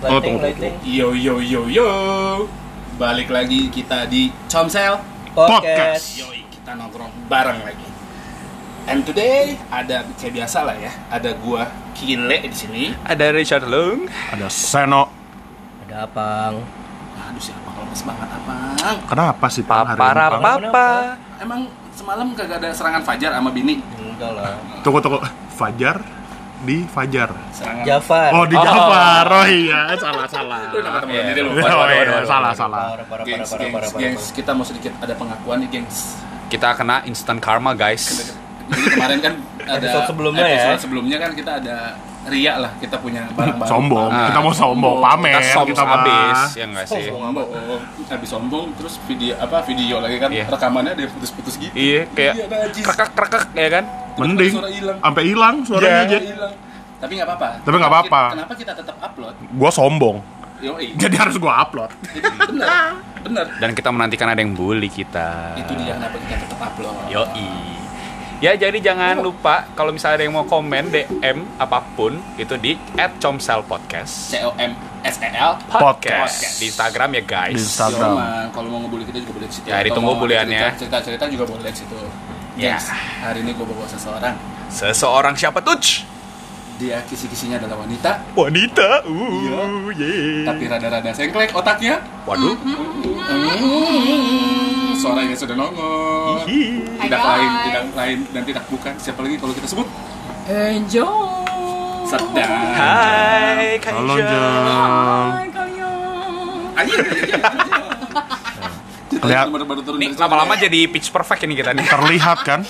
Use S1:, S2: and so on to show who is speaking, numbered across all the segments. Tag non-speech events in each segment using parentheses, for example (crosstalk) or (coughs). S1: Oh,
S2: Lighting,
S1: tunggu,
S2: lighting.
S3: Yo yo yo yo. Balik lagi kita di Comsel.
S2: Podcast.
S3: Yoi, kita nongkrong bareng lagi. And today ada kayak biasa lah ya, ada gua Kile di sini.
S1: Ada Richard Lung.
S4: Ada Seno.
S2: Ada Apang.
S3: Aduh siapa kalau lemes banget apang.
S4: Kenapa sih Pang hari ini?
S1: Papara
S4: Pang?
S1: papa.
S3: Emang semalam kagak ada serangan fajar sama bini?
S2: Enggak lah.
S4: Tunggu tunggu. Fajar di Fajar.
S3: Serangan.
S2: Jafar.
S4: Oh di
S1: Oh.
S4: Jafar. Oh iya salah salah.
S3: Lu nama temen
S1: Iya.
S3: sendiri lu.
S4: Oh,
S3: Waduh, waduh, waduh.
S4: iya, salah salah.
S2: Parah, parah, parah,
S3: Gengs,
S2: parah,
S3: gengs,
S2: parah,
S3: gengs,
S2: parah.
S3: kita mau sedikit ada pengakuan nih, gengs.
S1: Kita kena instant karma guys.
S3: Jadi kemarin kan ada
S2: (laughs) Episode sebelumnya ya.
S3: episode sebelumnya kan kita ada Ria lah kita punya barang baru.
S4: Sombong.
S1: Ah.
S4: kita mau sombong, pamer.
S1: Kita soms
S4: mah.
S1: abis ya nggak
S4: Iya
S1: sih?
S3: Sombong amat. Oh, Habis sombong terus video apa video lagi kan
S1: Iya.
S3: rekamannya ada yang putus-putus gitu.
S1: Iya kayak
S3: Iya, najis.
S1: krekek krekek ya kan?
S4: Mending
S3: Suara hilang.
S4: sampai hilang suaranya
S3: Suara
S4: Jet.
S3: hilang. Tapi nggak apa-apa.
S4: Tapi nggak apa-apa. Iya.
S3: Kenapa kita tetap upload?
S4: Gua sombong.
S3: Yo,
S4: Jadi harus gua upload.
S3: benar, benar.
S1: Dan kita menantikan ada yang bully kita.
S3: Itu dia kenapa kita tetap upload.
S1: Yoi. Ya jadi jangan lupa kalau misalnya ada yang mau komen DM apapun itu di @comselpodcast.
S3: C O M S E L. Podcast.
S1: di Instagram ya guys.
S4: Di Instagram.
S3: Yoman, kalau mau ngebully kita juga boleh di situ.
S1: Ya,
S3: Atau
S1: ditunggu
S3: mau
S1: buliannya.
S3: Cerita-cerita juga boleh di situ.
S4: Iya.
S1: Ya.
S3: Gengs, hari ini gue bawa seseorang.
S1: Seseorang siapa tuh?
S3: Dia kisi-kisinya adalah wanita,
S4: Eh,
S1: Wanita.
S4: Iya.
S1: Uh, yeah.
S3: tapi rada-rada sengklek otaknya.
S1: Waduh.
S3: Mm, Suaranya sudah nongol.
S1: Hihi.
S3: Tidak
S5: Hai,
S3: lain,
S5: guys.
S3: tidak lain, dan tidak bukan. Siapa lagi kalau kita sebut?
S5: Enjoy.
S3: Sedang.
S1: Hai, Kak
S4: Halo,
S1: Ija.
S4: Jeng.
S5: Hai kalian.
S3: Anjir, anjir, anjir.
S4: Kelihat-
S3: Baru- baru turun dari
S1: Ini lama-lama
S3: sepeda.
S1: jadi pitch perfect ini kita nih.
S4: Terlihat kan?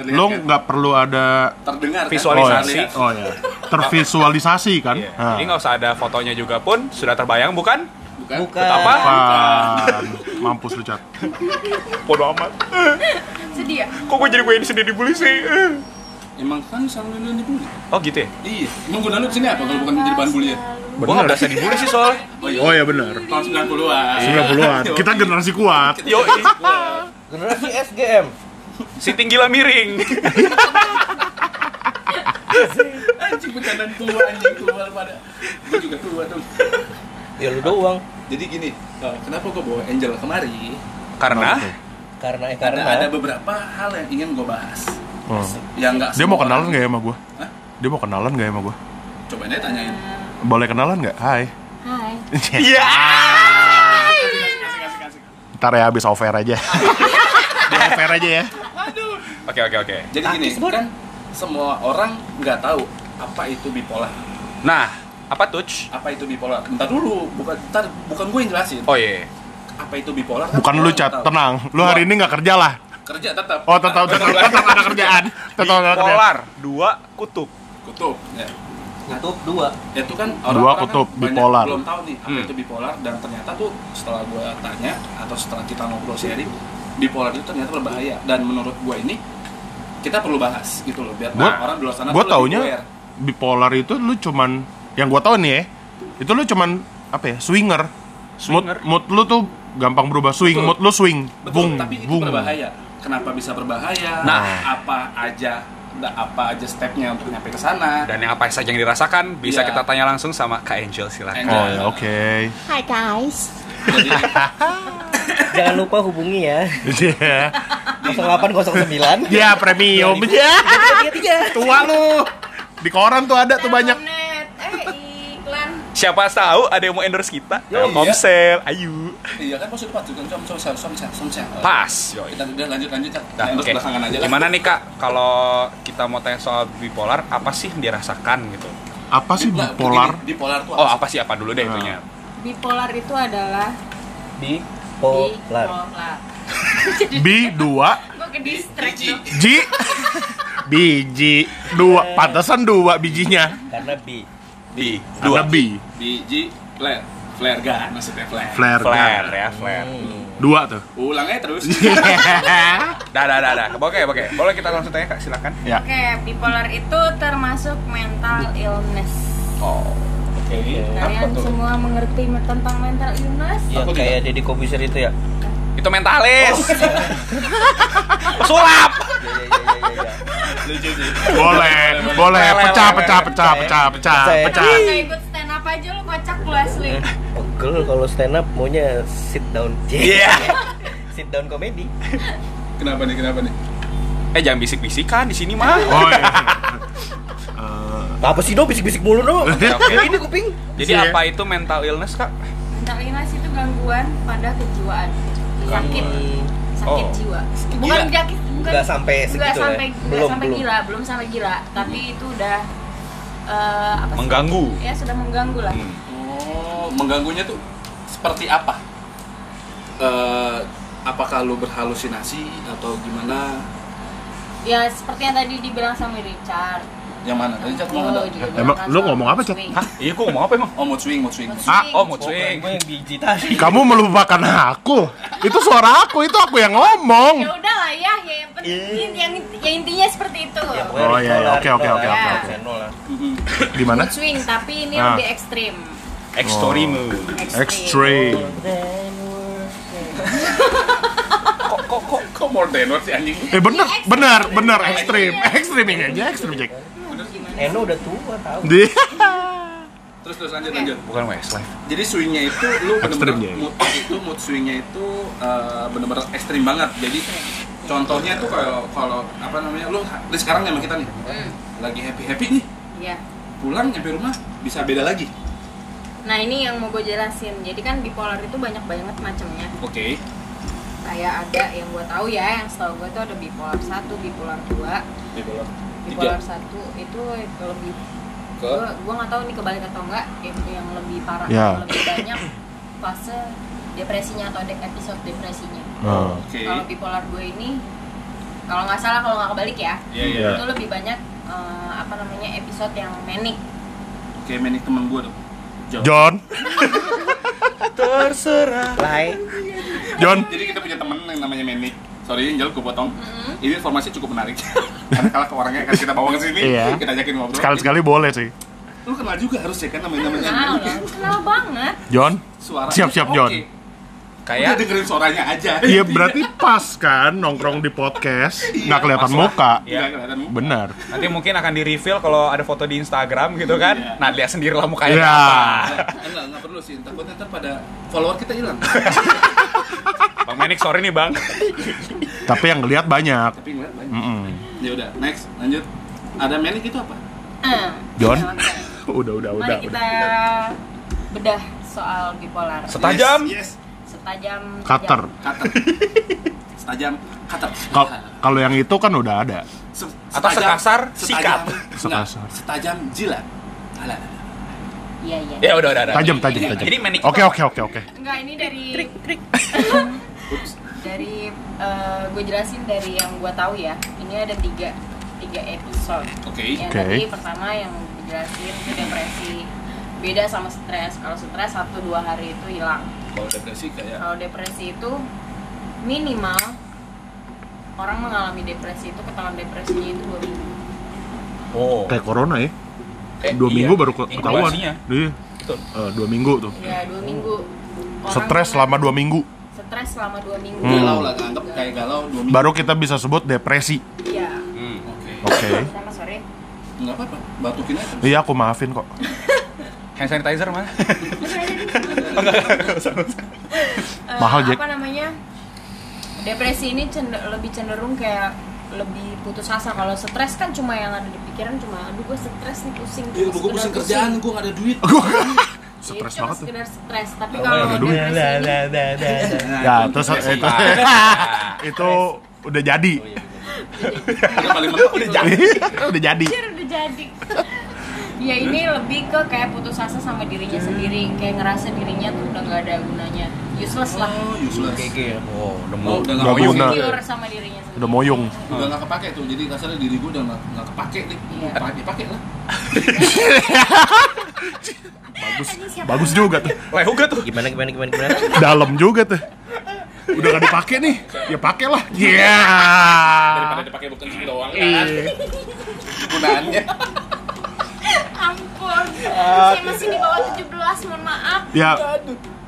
S3: Terlihat
S4: Lu
S3: kan?
S4: nggak perlu ada
S3: terdengar kan?
S1: Visualisasi.
S3: Terlihat.
S4: Oh ya. Tervisualisasi kan?
S1: Iya.
S4: Nah.
S1: Ini nggak usah ada fotonya juga pun sudah terbayang bukan?
S3: Bukan.
S2: Bukan.
S1: Apa?
S4: Pan. Mampus lu, Cat.
S1: Bodoh amat.
S5: (laughs) Sedih ya?
S1: Kok gue jadi gue yang sendiri dibully sih? Eh.
S3: Emang kan selalu lu yang dibully.
S1: Oh gitu ya?
S3: Iya. Emang gunanya lu kesini apa kalau bukan menjadi bahan bulian?
S1: Gue nggak berasa dibully sih soalnya.
S3: Iya.
S4: Oh ya benar.
S3: Tahun 90-an.
S4: 90-an.
S3: Iya.
S4: Kita generasi kuat.
S1: Yo,
S2: Generasi SGM.
S1: si tinggi lah miring.
S3: Anjing bercandaan tua, anjing tua pada. Gue juga tua dong.
S2: Ya lu doang.
S3: Jadi gini, eh, kenapa gue bawa Angel kemari?
S1: (laughs) Karena
S2: Karena eh
S3: Karena
S2: karena
S4: Nah.
S3: ada beberapa hal yang ingin gue bahas.
S4: Oh.
S3: Yang nggak
S4: Dia
S3: semua
S4: mau
S3: orang-
S4: kenalan nggak ya sama gue?
S3: Hah?
S4: Dia mau kenalan nggak ya sama gue?
S3: Coba aja tanyain.
S4: Boleh kenalan nggak? Hai.
S5: Hai.
S3: (laughs)
S1: Iya.
S4: Ntar ya abis off air
S3: (laughs)
S4: aja. Di off air aja ya.
S1: Oke oke oke.
S3: Jadi gini, kan semua orang nggak tahu apa itu bipolar.
S1: Nah, apa touch?
S3: Apa itu bipolar? Bentar dulu, bukan ntar bukan gue yang jelasin.
S1: Oh iya.
S3: Apa itu bipolar? kan
S4: Bukan
S3: semua
S4: lu
S3: orang
S4: cat,
S3: tahu.
S4: tenang. Lu hari ini nggak kerja lah.
S3: Kerja tetap. Nah,
S4: Oh tetap tetap tetap ada kerjaan. Tetap ada kerjaan.
S1: Polar dua kutub.
S3: Kutub. Ya.
S2: kutub dua.
S3: itu kan orang-orang kan
S4: kutub,
S3: banyak
S4: bipolar.
S3: belum tahu nih apa
S1: Hmm.
S3: itu bipolar dan ternyata tuh setelah gue tanya atau setelah kita ngobrol sharing bipolar itu ternyata berbahaya dan menurut gue ini kita perlu bahas gitu loh biar
S4: Gua-
S3: orang di luar sana
S4: Gue
S3: tuh lebih
S4: taunya
S3: aware.
S4: bipolar itu lu cuman yang gue tau nih ya. Itu lu cuman apa ya? Swinger. Mood,
S1: Swinger.
S4: mood lu tuh gampang berubah swing.
S3: Betul.
S4: Mood lu swing.
S3: betul
S4: Bung,
S3: tapi itu
S4: bung.
S3: berbahaya kenapa bisa berbahaya
S1: Nah.
S3: apa aja da- apa aja stepnya untuk nyampe ke sana
S1: Dan yang apa saja yang dirasakan bisa
S3: Iya.
S1: kita tanya langsung sama Kak Angel silakan.
S4: Oh ya oke. (laughs)
S5: Hai guys.
S3: jadi
S2: Jangan lupa hubungi ya.
S4: Iya.
S3: (laughs)
S2: 0809.
S4: Ya premium. Ya. (laughs)
S3: Iya,
S4: Tua lu. Di koran tuh ada tuh banyak.
S5: Net. Eh iklan.
S1: Siapa tahu ada yang mau endorse kita?
S3: Yo, iya.
S1: Komsel, ayo.
S3: iya kan maksudnya pas juga som som som som som som
S1: Pas. Yo. iya.
S3: kita udah lanjut lanjut Cat.
S1: Nah,
S3: Nah, terus
S1: oke.
S3: belakangan aja lah.
S1: Gimana nih Kak kalau kita mau tanya soal bipolar apa sih yang dirasakan gitu?
S4: Apa sih
S3: Nah,
S4: bipolar?
S3: begini, bipolar tuh
S1: Oh, apa sih apa dulu deh itunya?
S5: Bipolar itu adalah
S2: Di polar.
S5: bipolar.
S4: B dua
S5: Gue ke distract
S3: Biji.
S5: tuh.
S4: Ji biji dua pantesan dua bijinya
S2: Karena bi.
S1: Di
S4: dua
S1: dua
S4: bi
S3: biji flare flare gun maksudnya flare,
S4: flare,
S1: flare
S4: gun.
S1: ya, flare.
S4: dua tuh (laughs)
S3: ulangnya
S1: (laughs)
S3: terus
S1: Dah, dah, dah, dah. Oke, oke. Boleh kita langsung tanya Kak, silakan.
S4: ya
S5: Oke, bipolar itu termasuk mental illness.
S3: oh oke
S2: Iya,
S3: apa
S5: Kalian
S3: tuh
S5: semua mengerti tentang mental illness?
S2: Ya
S3: Aku
S2: kayak Deddy Kobuser itu ya.
S1: Itu mentalis. Pesulap.
S2: Ya ya ya ya ya. ya.
S3: lucu sih
S4: boleh boleh
S1: Lele,
S4: pecah
S1: lele,
S4: pecah pecah
S2: lele.
S4: pecah pecah
S5: ya?
S2: Pecah.
S4: pecah
S5: Gak ikut stand up aja lu kocak lu. lu asli.
S2: iya. Pegel kalau stand up maunya sit down.
S1: Iya.
S2: sit down komedi.
S3: Kenapa nih? Kenapa nih?
S1: Eh jangan bisik-bisikan di sini mah.
S4: Oh iya.
S2: Apa sih do bisik-bisik mulu
S3: (laughs)
S2: do?
S1: Oke, oke.
S2: Ini kuping.
S1: Jadi
S4: Iya.
S1: apa itu mental illness kak?
S5: Mental illness itu gangguan pada kejiwaan. Sakit,
S2: Hmm.
S5: sakit
S1: Oh.
S5: jiwa.
S3: Gila.
S5: Bukan sakit, bukan
S2: Nggak sampai
S5: nggak
S2: segitu ya?
S5: sampai, nggak
S2: Belum,
S5: sampai
S2: belum.
S5: gila, belum sampai gila. Tapi itu udah eh, apa sih?
S1: Mengganggu.
S5: Ya sudah mengganggu lah.
S1: Hmm.
S3: Oh, mengganggunya tuh seperti apa? Eh, apakah lu berhalusinasi atau gimana?
S5: Ya seperti yang tadi dibilang sama Richard.
S3: Yang mana? Tadi chat mau
S5: Lu
S3: ada.
S5: juga
S4: Oh, Emang
S5: bilang
S4: lu
S5: kan
S4: ngomong
S5: soal
S4: apa, Cat?
S5: swing.
S1: Hah? Iya, gua ngomong apa emang?
S3: Oh, mood swing, mood swing. mood swing.
S1: Ah,
S5: Swing.
S1: oh mood
S2: Bukan,
S1: swing.
S2: gue yang biji tadi.
S4: Eh, Kamu melupakan aku. Itu suara aku, itu aku yang
S5: Ya
S4: ngomong.
S5: udah lah ya, ya yang penting yang, yang intinya seperti itu.
S2: Iya. Ya,
S5: Mood
S2: pokoknya
S4: Oh,
S2: Rito
S4: iya, iya.
S2: lah,
S4: Oke,
S2: Rito
S4: oke,
S2: lah,
S5: oke, oke,
S2: Rito
S5: oke.
S2: Seno lah.
S3: Mm-mm.
S4: Di mana?
S5: swing tapi ini
S4: Ah.
S5: lebih ekstrim.
S1: Ekstorimu.
S4: Extreme.
S1: Kok kok kok
S3: Kok more than words sih anjing?
S4: Eh bener,
S5: Iya, ekstrim.
S4: bener, bener, ekstrim,
S5: Iya.
S4: ekstrim ini aja, ekstrim Jack.
S2: Eno udah tua tahu.
S4: (laughs) Di
S3: Terus terus lanjut
S5: Oke.
S3: lanjut.
S1: bukan Westlife.
S3: Jadi swingnya itu lu bener-bener
S4: Ekstrim dia.
S3: mood itu mood swingnya itu eh, bener-bener ekstrim banget. Jadi contohnya tuh kalau kalau apa namanya lu lu sekarang sama kita nih
S5: Hmm,
S3: lagi happy happy nih
S5: Iya.
S3: pulang nyampe rumah bisa beda lagi.
S5: Nah ini yang mau gue jelasin. Jadi kan bipolar itu banyak banget macamnya.
S3: Oke.
S5: Kayak ada yang gue tahu ya, yang setahu gue tuh ada bipolar 1, bipolar 2
S3: Develop.
S5: Bipolar 1 itu lebih
S3: Ke
S5: gue gue nggak tahu ini kebalik atau enggak yang, yang lebih parah
S4: Ya.
S5: lebih banyak fase depresinya atau dek episode depresinya
S4: Oh.
S3: Oke.
S5: kalau bipolar gue ini kalau nggak salah kalau nggak kebalik ya
S3: Iya iya.
S5: itu lebih banyak eh, apa namanya episode yang manic
S3: Kayak manik teman gua dong. Jauh.
S4: John,
S1: Terserah.
S2: Lai.
S4: John,
S3: Jadi kita punya temen yang namanya Menik. Sorry, Angel, gue potong.
S5: Mm-mm.
S3: Ini informasi cukup menarik. (laughs) Karena kalah ke orangnya akan kita bawa ke sini,
S4: Iya.
S3: kita ajakin ngobrol.
S4: sekali-sekali boleh sih.
S3: Lu kenal juga harusnya kan namanya namanya
S5: kenal
S3: Menik.
S5: loh kenal banget
S4: John,
S3: Suara.
S4: Siap-siap,
S3: Oke.
S4: John.
S3: Udah
S1: Kayak
S3: dengerin suaranya aja.
S4: iya berarti pas kan nongkrong di podcast, nggak kelihatan
S1: Pas lah.
S4: muka.
S3: Iya, nggak kelihatan.
S4: Bener.
S1: nanti mungkin akan di reveal kalau ada foto di Instagram gitu kan.
S3: Iya.
S1: Nah, lihat sendirilah mukanya
S4: Iya.
S1: apa.
S3: Nggak, Nggak, nggak perlu sih. Takutnya ntar pada follower kita hilang.
S1: Bang Menik sorry nih, Bang.
S4: Tapi yang ngelihat banyak.
S3: (laughs) Tapi ngeliat banyak.
S4: Mm-mm.
S3: Ya udah, next. Lanjut. Ada Menik itu apa?
S5: Eh, (laughs)
S4: John?
S5: oke.
S4: Udah, udah,
S5: mari
S4: udah.
S5: kita bedah soal bipolar
S1: Setajam.
S3: Yes,
S5: setajam
S4: Cutter.
S5: tajam.
S3: yes.
S4: (laughs)
S3: Cutter. Setajam. Cutter.
S4: Kal- Kalau yang itu kan udah ada.
S3: Se-
S1: Atau
S3: setajam-
S1: sekasar,
S3: setajam-
S1: sikat.
S3: Nggak,
S4: Sekasar.
S3: Setajam jilat. Alah, alah.
S5: iya iya
S1: Ya udah udah udah.
S4: Tajam, tajam, tajam.
S1: Jadi Menik
S4: Oke,
S1: itu-
S4: oke, oke, oke.
S5: Enggak, ini dari dari gue jelasin dari yang gue tahu ya. Ini ada tiga tiga episode.
S3: Oke.
S5: Yang
S4: Oke.
S5: tadi pertama yang dijelasin itu depresi. Beda sama stres. Kalau stres satu dua hari itu hilang.
S3: Kalau depresi kayak
S5: Kalau depresi itu minimal orang mengalami depresi itu ketahuan depresinya itu dua minggu.
S1: Oh.
S4: Kayak corona ya.
S1: Eh,
S4: Dua
S1: iya.
S4: minggu baru ke- ketahuan.
S1: Inkubasinya.
S4: Iya.
S1: Betul.
S4: Eh, dua minggu tuh.
S5: Ya dua minggu. Orang
S4: Stres
S5: kena
S4: selama dua minggu.
S5: Stres selama dua minggu.
S3: galau lah, anggap kayak galau dua minggu.
S4: Hmm. Baru kita bisa sebut depresi.
S5: Iya.
S1: Hmm.
S3: Oke.
S4: Oke.
S5: Sama sore.
S3: Enggak apa-apa. Batukin aja.
S4: Iya, aku maafin kok.
S1: Hand sanitizer
S4: (laughs)
S1: mana?
S5: Eh,
S4: Mahal, Jack.
S5: apa namanya depresi ini cender- lebih cenderung kayak lebih putus asa kalau stres kan cuma yang ada di pikiran cuma aduh gue stres nih pusing
S3: Iya, gue
S5: Sekedar
S3: pusing kerjaan, gue gak ada duit.
S5: Jadi
S4: Stres
S5: cuma
S4: banget tuh.
S5: sekedar stres tapi
S3: Nggak
S5: kalau
S3: ada
S4: duit.
S5: depresi ini
S3: Nah,
S4: Ya, terus
S1: Depresi.
S4: itu, itu udah jadi.
S3: Itu paling mentok itu.
S4: (laughs) udah jadi.
S5: anjir, udah jadi (laughs) ya ini lebih ke kayak putus asa sama dirinya sendiri kayak ngerasa dirinya tuh udah nggak ada gunanya useless lah
S3: Oh, useless.
S2: Oke,
S3: Oh,
S1: Oh, nemu.
S3: udah
S4: Nggak
S3: gak
S4: guna.
S3: guna.
S5: insecure sama dirinya
S4: iya,
S5: sendiri
S4: Udah moyong.
S3: Udah gak kepake tuh, jadi kasarnya diri gue udah gak, gak kepake nih.
S5: Iya.
S3: Pake, pake lah.
S4: Bagus. Bagus juga tuh.
S1: Leh juga tuh.
S2: Gimana gimana gimana gimana?
S4: Dalam juga tuh. Udah gak dipakai nih. Ya pakailah. Iya.
S3: Daripada dipakai bukan sini doang (laughs) kan. Gunaannya.
S5: ampun saya masih di bawah 17 mohon maaf
S4: Ya,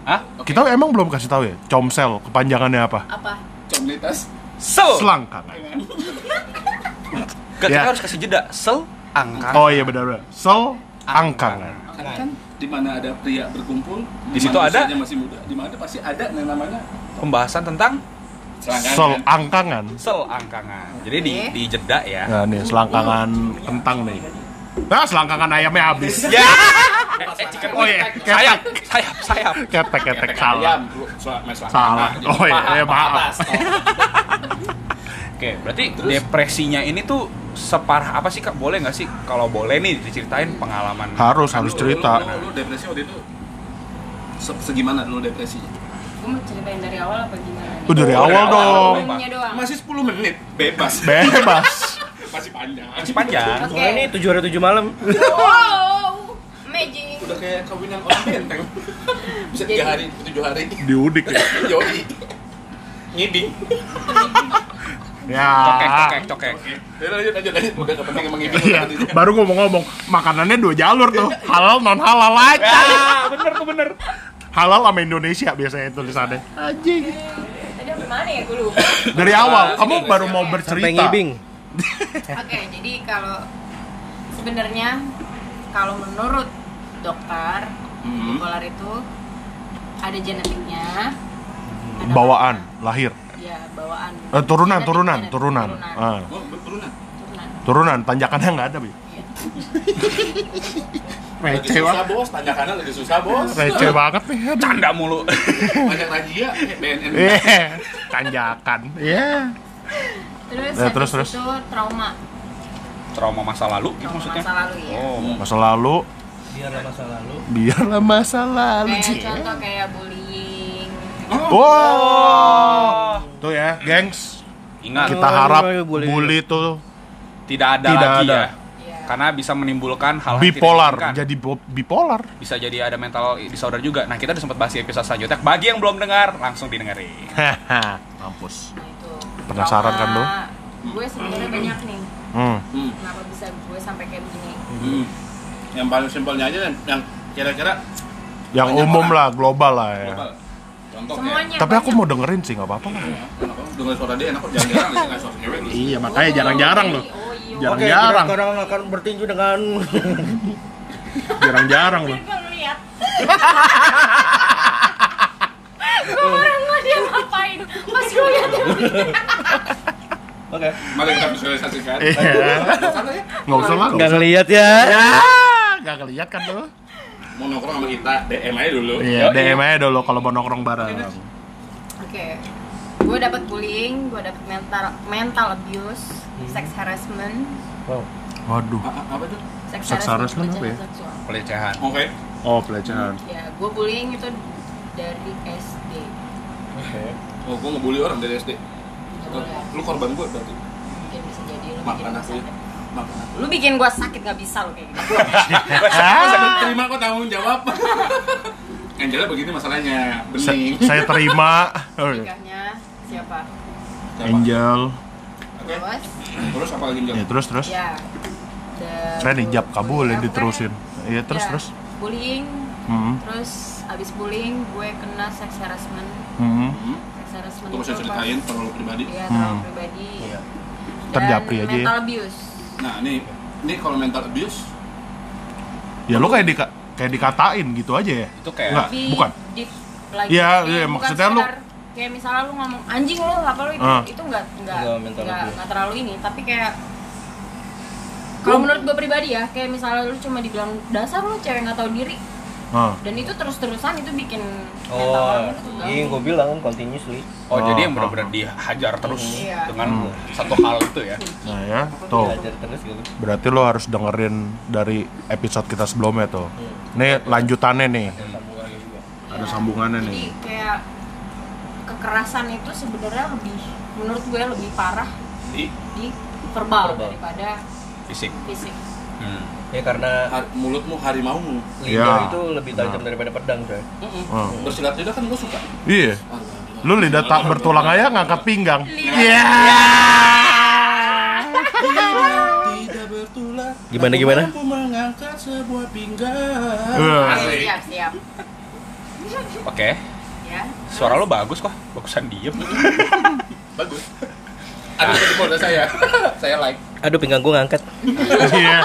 S1: Hah?
S4: kita emang belum kasih tahu ya, comsel kepanjangannya apa?
S5: apa
S3: Komunitas.
S1: Sel.
S4: Selangkangan.
S1: Nggak, Kita
S4: Ya.
S1: harus kasih jeda. Sel angka.
S4: Oh iya benar benar. Sel angkangan.
S3: Kan, kan di mana ada pria berkumpul,
S1: Di situ
S3: mana
S1: ada?
S3: usianya masih muda, di mana pasti ada yang namanya
S1: Pembahasan tentang
S3: selangkangan.
S4: Sol angkangan.
S1: selangkangan. Jadi di
S5: Oke.
S1: di jeda ya.
S4: Nah nih selangkangan kentang nih. Nah selangkangan ayamnya habis.
S1: (laughs) Ya.
S4: Oh iya,
S1: (laughs) Sayap,
S4: ketek,
S1: sayap, sayap.
S4: ketek, ketek
S3: Ayam,
S4: salah.
S3: Iya, bro. Sel- main selangkangan.
S4: Salah. Oh iya, iya, maaf.
S1: Oke, berarti depresinya ini tuh separah apa sih kak? Boleh nggak sih kalau boleh nih diceritain pengalaman?
S4: Harus harus
S3: Lu-
S4: cerita.
S3: Lu, lu, lu depresi waktu itu se- segimana dulu depresinya?
S5: Gue mau ceritain dari awal apa gimana? nih?
S4: Udah dari awal dong.
S5: Umumnya doang.
S3: Masih 10 menit, bebas.
S4: Bebas.
S3: Masih panjang.
S1: Masih panjang.
S5: Oke.
S2: Soalnya ini tujuh hari tujuh malam.
S5: Wow, magic.
S3: Udah kayak kawinan orang benteng. Bisa 3
S5: Jadi-
S3: hari, 7 hari.
S4: Diudik ya.
S3: Yoi. Ngiding.
S4: Ya.
S1: Cokek, cokek, cokek.
S3: Ya lanjut lanjut lanjut. Udah gak penting emang ngiding.
S4: Iya, baru ngomong-ngomong makanannya dua jalur tuh halal non halal aja
S1: Ah, bener tuh bener.
S4: halal sama Indonesia biasanya tulisannya anjing
S5: Tadi apa mana ya gue lupa.
S4: dari awal kamu baru mau
S2: Sampai
S4: bercerita
S2: ngibing.
S5: Oke, jadi kalau sebenarnya kalau menurut dokter
S3: Hmm.
S5: bipolar itu ada genetiknya. ada
S4: bawaan lahir
S5: bawaan- Ya, bawaan.
S4: Eh, turunan
S5: Genetik,
S4: turunan
S5: genetik,
S4: turunan
S5: Turunan.
S4: Ah,
S3: Oh, berunan.
S5: turunan.
S4: turunan tanjakannya nggak ada bi
S5: Iya.
S4: (laughs)
S3: Lagi
S4: receh
S3: susah
S4: banget
S3: bos, tanjakannya lagi susah bos.
S4: receh banget nih ya. aduh.
S1: Canda mulu. (laughs)
S3: Banyak razia, eh, BNN.
S4: Iya, tanjakan iya Ya, terus,
S5: Terus, terus,
S4: terus.
S5: terus. itu trauma.
S1: Trauma masa lalu gitu
S5: Trauma
S1: maksudnya.
S5: masa lalu ya.
S1: Oh,
S4: masa lalu
S2: Biarlah masa lalu.
S4: biarlah masa lalu
S5: Kayak
S4: sih
S5: contoh kayak bullying.
S4: wow tuh ya gengs
S1: ingat
S4: kita harap
S2: Aduh, bully.
S4: bully tuh
S1: tidak ada
S4: Tidak
S1: lagi
S4: ada.
S1: ya.
S5: Iya.
S4: Kan
S1: Karena bisa menimbulkan hal-hal yang tidak
S4: bipolar
S1: diinginkan.
S4: jadi bo- bipolar
S1: bisa jadi ada mental disorder juga. Nah, kita udah sempat bahas di episode selanjutnya. Bagi yang belum dengar, langsung didengerin.
S4: Haha, mampus.
S5: Nah, itu.
S4: Penasaran kan
S5: Trauma.
S4: lu?
S5: Gue sebenarnya banyak nih.
S4: Hmm.
S3: Hmm.
S5: Kenapa bisa gue sampai kayak begini?
S3: Hmm. Yang paling simpelnya aja dan yang kira-kira
S4: Yang
S3: Banyak
S4: umum
S3: orang.
S4: lah, global lah ya.
S3: global. Contoh kayak-
S5: Semuanya.
S4: Tapi aku
S5: banyak.
S4: mau dengerin sih, nggak apa-apa lah.
S3: Ya, kenapa? Dengar suara dia enak kok jarang-jarang di sini, suara cewek lu.
S4: Iya,
S5: Oh, iya, Oh, iya.
S4: Jarang.
S2: Oke, kita sekarang akan bertinju dengan
S4: Jarang-jarang
S5: Hampir
S4: loh.
S5: gua
S4: (laughs)
S5: ngeliat. Gua baru ngeliat dia ngapain. Pas gue liat dia
S2: Oke.
S3: Mari kita visualisasikan.
S4: Iya. Nggak usah lah.
S2: Enggak ngelihat ya.
S4: Nggak kelihatan kan lo?
S3: Mau nongkrong sama kita, DM aja dulu.
S4: Iya,
S3: Yoi.
S4: DM aja dulu kalau mau nongkrong bareng.
S5: Oke. Gue dapet bullying, gue dapet mental mental abuse,
S4: Hmm.
S5: sex harassment,
S2: Wow.
S4: Waduh.
S3: A- a- Apa tuh?
S5: sex,
S4: Sex harassment apa ya?
S5: pelecehan seksual.
S1: Pelecehan.
S3: Oke.
S4: Oh, pelecehan.
S5: Ya, gue bullying itu dari SD.
S2: Oke.
S3: Oh, gua ngebully orang dari SD.
S5: Ya
S3: Lu-
S5: udah,
S3: Lu korban gua berarti.
S5: mungkin bisa jadi lu bikin
S3: Makan
S5: gue
S3: aku.
S5: sakit.
S3: Makan aku.
S5: Lu bikin gue sakit nggak bisa lu kayak gitu.
S4: Ah,
S3: Terima kok tanggung
S4: (laughs)
S3: jawab. Angela begini masalahnya.
S4: Sa-
S3: Bening.
S4: saya terima. Oh, iya.
S5: Nikahnya siapa?
S3: Siapa?
S4: Angel.
S3: Oke.
S5: Terus?
S3: Terus apa lagi
S4: Ya
S3: Angel?
S4: terus terus.
S5: Ya. The-
S4: Saya dijab
S5: bu-
S4: kabulin
S5: bullying aku
S4: diterusin. Iya
S5: kan-
S4: terus
S5: ya,
S4: terus.
S5: Bullying,
S4: Hmm.
S5: terus abis bullying gue kena sex harassment.
S4: Hmm.
S3: Hmm.
S5: Sex harassment
S3: Itu bisa
S5: itu
S3: ceritain kalau lu pribadi.
S5: Iya,
S4: Hmm.
S5: trauma pribadi.
S2: Iya.
S5: Dan
S4: Terjapri aja ya.
S5: mental abuse.
S3: Nah, ini ini kalau mental abuse
S4: Ya lo kayak dika- kayak dikatain gitu aja ya.
S1: Itu kayak
S4: Nggak. Ah,
S5: Di
S4: bukan.
S5: deep lagi.
S4: Iya,
S5: Kayak
S4: iya,
S5: bukan
S4: maksudnya lu-
S5: sekedar- kayak misalnya lu ngomong anjing lu apa lu itu
S4: Ah.
S5: itu nggak nggak
S2: Nggak mental
S5: nggak
S2: abuse.
S5: nggak terlalu ini tapi kayak kalau menurut gue pribadi ya kayak misalnya lu cuma dibilang dasar lu cewek nggak tahu diri
S4: Hah.
S5: dan itu terus-terusan itu bikin mental
S2: Oh,
S5: orang itu
S2: iya
S5: terganggu.
S2: gue bilang continuously.
S1: Oh,
S4: Oh,
S1: jadi yang
S4: oh,
S1: benar-benar
S4: oh.
S1: dihajar terus
S5: Iya.
S1: dengan
S4: Hmm.
S1: satu hal itu ya.
S4: Nah ya, tuh.
S2: Belajar terus gitu.
S4: Berarti lo harus dengerin dari episode kita sebelumnya tuh. Nih lanjutannya nih.
S2: Sambungannya juga.
S4: Ada sambungannya
S5: Jadi
S4: nih.
S5: kayak kekerasan itu sebenarnya lebih menurut gue lebih parah
S3: di
S5: di verbal,
S2: Verbal.
S5: daripada
S1: Fisik.
S5: fisik.
S1: Hmm.
S2: Ya karena
S3: har- mulutmu harimaumu.
S2: lidah
S4: Ya.
S2: itu lebih tajam
S4: Nah.
S2: daripada pedang coy
S4: Hmm.
S3: Bersilat lidah kan lu suka.
S4: (laughs) Iya. Lu lidah tak bertulang aja ngangkat pinggang.
S5: Lidah.
S4: Iya.
S3: Tidak bertulang.
S2: Gimana,
S3: aku
S2: gimana?
S3: Mampu mengangkat sebuah pinggang.
S4: Wah.
S5: Oke,
S3: Asik.
S5: siap, siap.
S1: Oke,
S5: Ya.
S1: suara lo bagus kok. Bagusan diem.
S3: Bagus. Ada di mode saya. (laughs) saya like.
S2: aduh pinggang gue ngangkat
S4: Iya.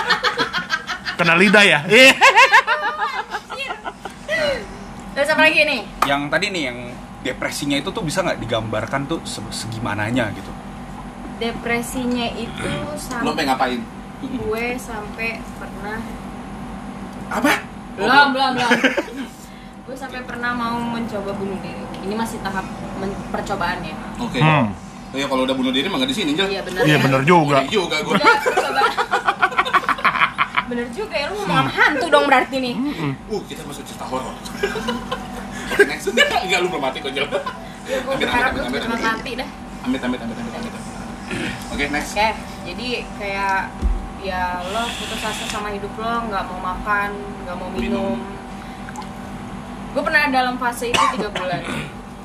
S4: Kena lidah ya. Iya.
S5: Anjir. Terus apa lagi nih?
S1: yang tadi nih yang depresinya itu tuh bisa nggak digambarkan tuh se- segimananya gitu
S5: Depresinya itu
S3: Lo pengen
S5: sampai
S3: ngapain?
S5: gue sampai pernah
S3: Apa?
S5: belum belum belum (laughs) gue sampai pernah mau mencoba bunuh diri ini masih tahap men- percobaan ya
S3: Oke.
S4: Hmm.
S3: Oh ya kalau udah bunuh diri mah nggak di sini, Jel.
S5: iya benar
S4: Iya
S5: ya?
S4: bener juga.
S3: Iya juga gue.
S5: Udah, percobaan. bener juga ya lu ngomong sama hantu dong berarti nih
S3: Uh, kita masuk cerita horor. (laughs) Oke, next. (laughs) Enggak, lu belum mati kok, Jel.
S5: ya gue
S3: Ambil,
S5: berharap
S3: ambil,
S5: lu
S3: ambil,
S5: cuma
S3: ambil.
S5: mati dah
S3: Amit, amit, amit, amit, amit. Oke, next.
S5: Oke, Eh, jadi kayak ya lo putus asa sama hidup lo, nggak mau makan, nggak mau minum. Gue pernah dalam fase itu tiga
S3: (coughs)
S5: bulan.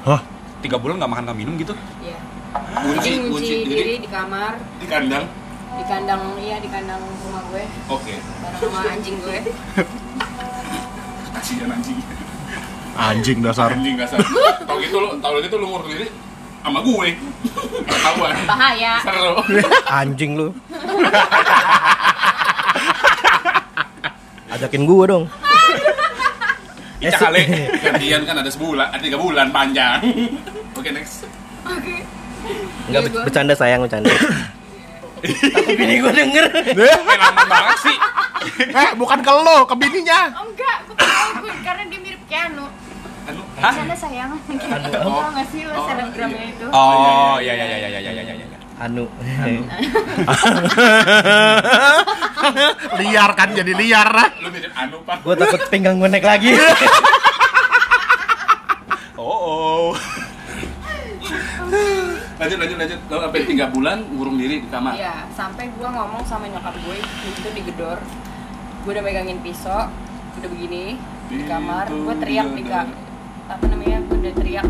S4: Hah?
S1: tiga bulan nggak makan nggak minum gitu
S5: Iya. Jadi
S3: Kunci, kunci
S5: ngunci
S3: diri
S5: diri di kamar,
S3: di kandang.
S5: di kandang iya di kandang rumah gue,
S3: Oke.
S5: bareng sama
S3: (laughs)
S5: anjing gue.
S3: Kasihan anjing. (laughs)
S4: Anjing dasar.
S3: Anjing dasar. Tau gitu lu, tau gitu lu ngurung diri sama gue. Ketahuan.
S5: Bahaya.
S3: Seru.
S2: (laughs) Anjing lu. Ajakin gua dong.
S1: Ica kali
S3: Gantian kan ada sebulan, ada tiga bulan panjang. (laughs) Oke, next.
S5: Oke.
S2: Enggak
S5: Iya, gua-
S2: bercanda sayang bercanda. Tapi bini gua denger.
S1: Eh, lama banget sih
S4: eh, bukan ke lo, ke bininya.
S5: Oh enggak, gue tahu gue karena dia mirip Keanu.
S3: Anu,
S5: Di sana sayang. Tau nggak sih lo
S3: Oh,
S5: selebgramnya
S3: iya.
S5: itu?
S1: oh ya ya ya ya ya ya ya ya
S2: Anu.
S4: Liar kan jadi liar.
S3: lu mirip Anu, Pak.
S2: gua takut pinggang gua naik (laughs) lagi.
S1: oh oh
S3: Lanjut, lanjut, lanjut. Lalu sampai tiga bulan ngurung diri di kamar.
S5: Iya, sampai gue ngomong sama nyokap gue itu digedor. Gue udah megangin pisau, udah begini di kamar. Gue teriak di ka, apa namanya? Gue udah teriak,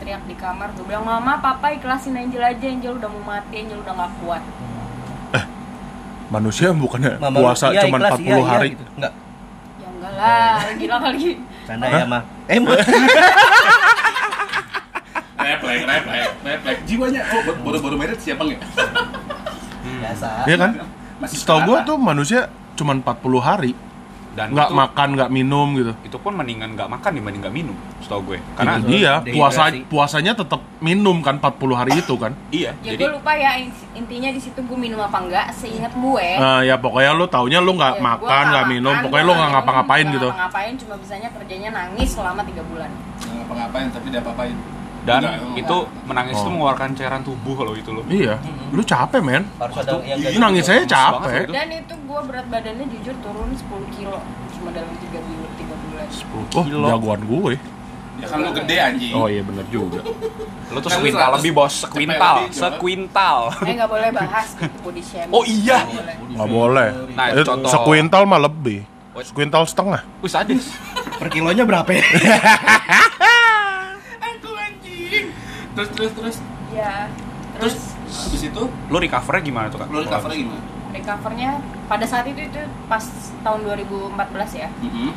S5: teriak di kamar. Gue bilang mama, papa ikhlasin Angel aja. Angel udah mau mati, Angel udah nggak kuat.
S4: Manusia bukannya
S2: Mama lu,
S4: puasa
S2: iya,
S4: cuma
S2: ikhlas,
S4: 40
S2: iya, iya,
S4: hari.
S2: gitu. Enggak.
S5: Ya enggak
S4: Oh, iya.
S5: lah, gila kali.
S2: Canda ya, Ma. Eh, Ma.
S3: Replek, replek, replek. Jiwanya, oh, ba- baru-baru married siapa nggak?
S2: Biasa.
S4: Iya kan?
S3: Masih
S4: Setahu gua
S3: sekarang.
S4: tuh manusia cuma 40 hari
S1: dan
S4: nggak
S1: itu-
S4: makan, nggak minum gitu.
S1: itu pun mendingan nggak makan dibanding nggak minum setahu gue karena
S4: Itu dia
S2: Dehidrasi.
S4: ya, puasa puasanya tetap minum kan 40 hari itu kan.
S1: iya
S5: Ya
S1: jadi
S5: gue lupa ya in- intinya di situ gue minum apa enggak, seingat gue.
S4: Nah, ya pokoknya lu taunya lu nggak
S5: ya, Eh. gua
S4: Ah, makan, nggak minum,
S5: makan,
S4: pokoknya
S5: gua
S4: lu nggak
S5: minum,
S4: ngapa-ngapain
S5: nggak
S4: gitu.
S5: Ngapa-ngapain cuma bisanya kerjanya nangis selama tiga bulan.
S3: Nggak ngapa-ngapain, tapi dia apa-apain.
S1: dan
S3: Nggak, nggak.
S1: itu menangis itu
S4: Oh.
S1: mengeluarkan cairan tubuh loh itu loh
S4: Iya, lu capek men.
S2: Harus ada yang
S1: Iya,
S4: Lu
S2: iya.
S4: nangis saya
S1: banget
S4: capek.
S1: loh
S5: Dan itu gue berat badannya jujur turun 10 kilo cuma dalam 3 bulan, 3 bulan.
S4: Oh,
S1: Gila.
S4: jagoan gue.
S3: Ya kan lu gede anjing.
S4: Oh iya bener juga.
S1: lo tuh
S3: Kan lu
S1: sekuintal
S3: seratus-
S1: lebih bos sekuintal
S3: lebih, coba.
S1: sekuintal
S5: Eh nggak boleh bahas gitu body shaming.
S1: oh iya
S5: Nggak boleh.
S4: Nggak boleh.
S1: Nah,
S4: Eh,
S1: contoh.
S4: Sekuintal mah lebih.
S1: What?
S4: Sekuintal setengah.
S1: Wih sadis
S2: Per kilonya berapa ya?
S3: Aku anjing. Terus, terus, terus.
S5: Iya.
S3: Terus,
S5: Terus
S3: habis itu,
S1: lo recovernya gimana tuh kak?
S3: lu recovernya gimana?
S5: recovernya pada saat itu itu pas tahun 2014 ya.
S3: Mm-hmm.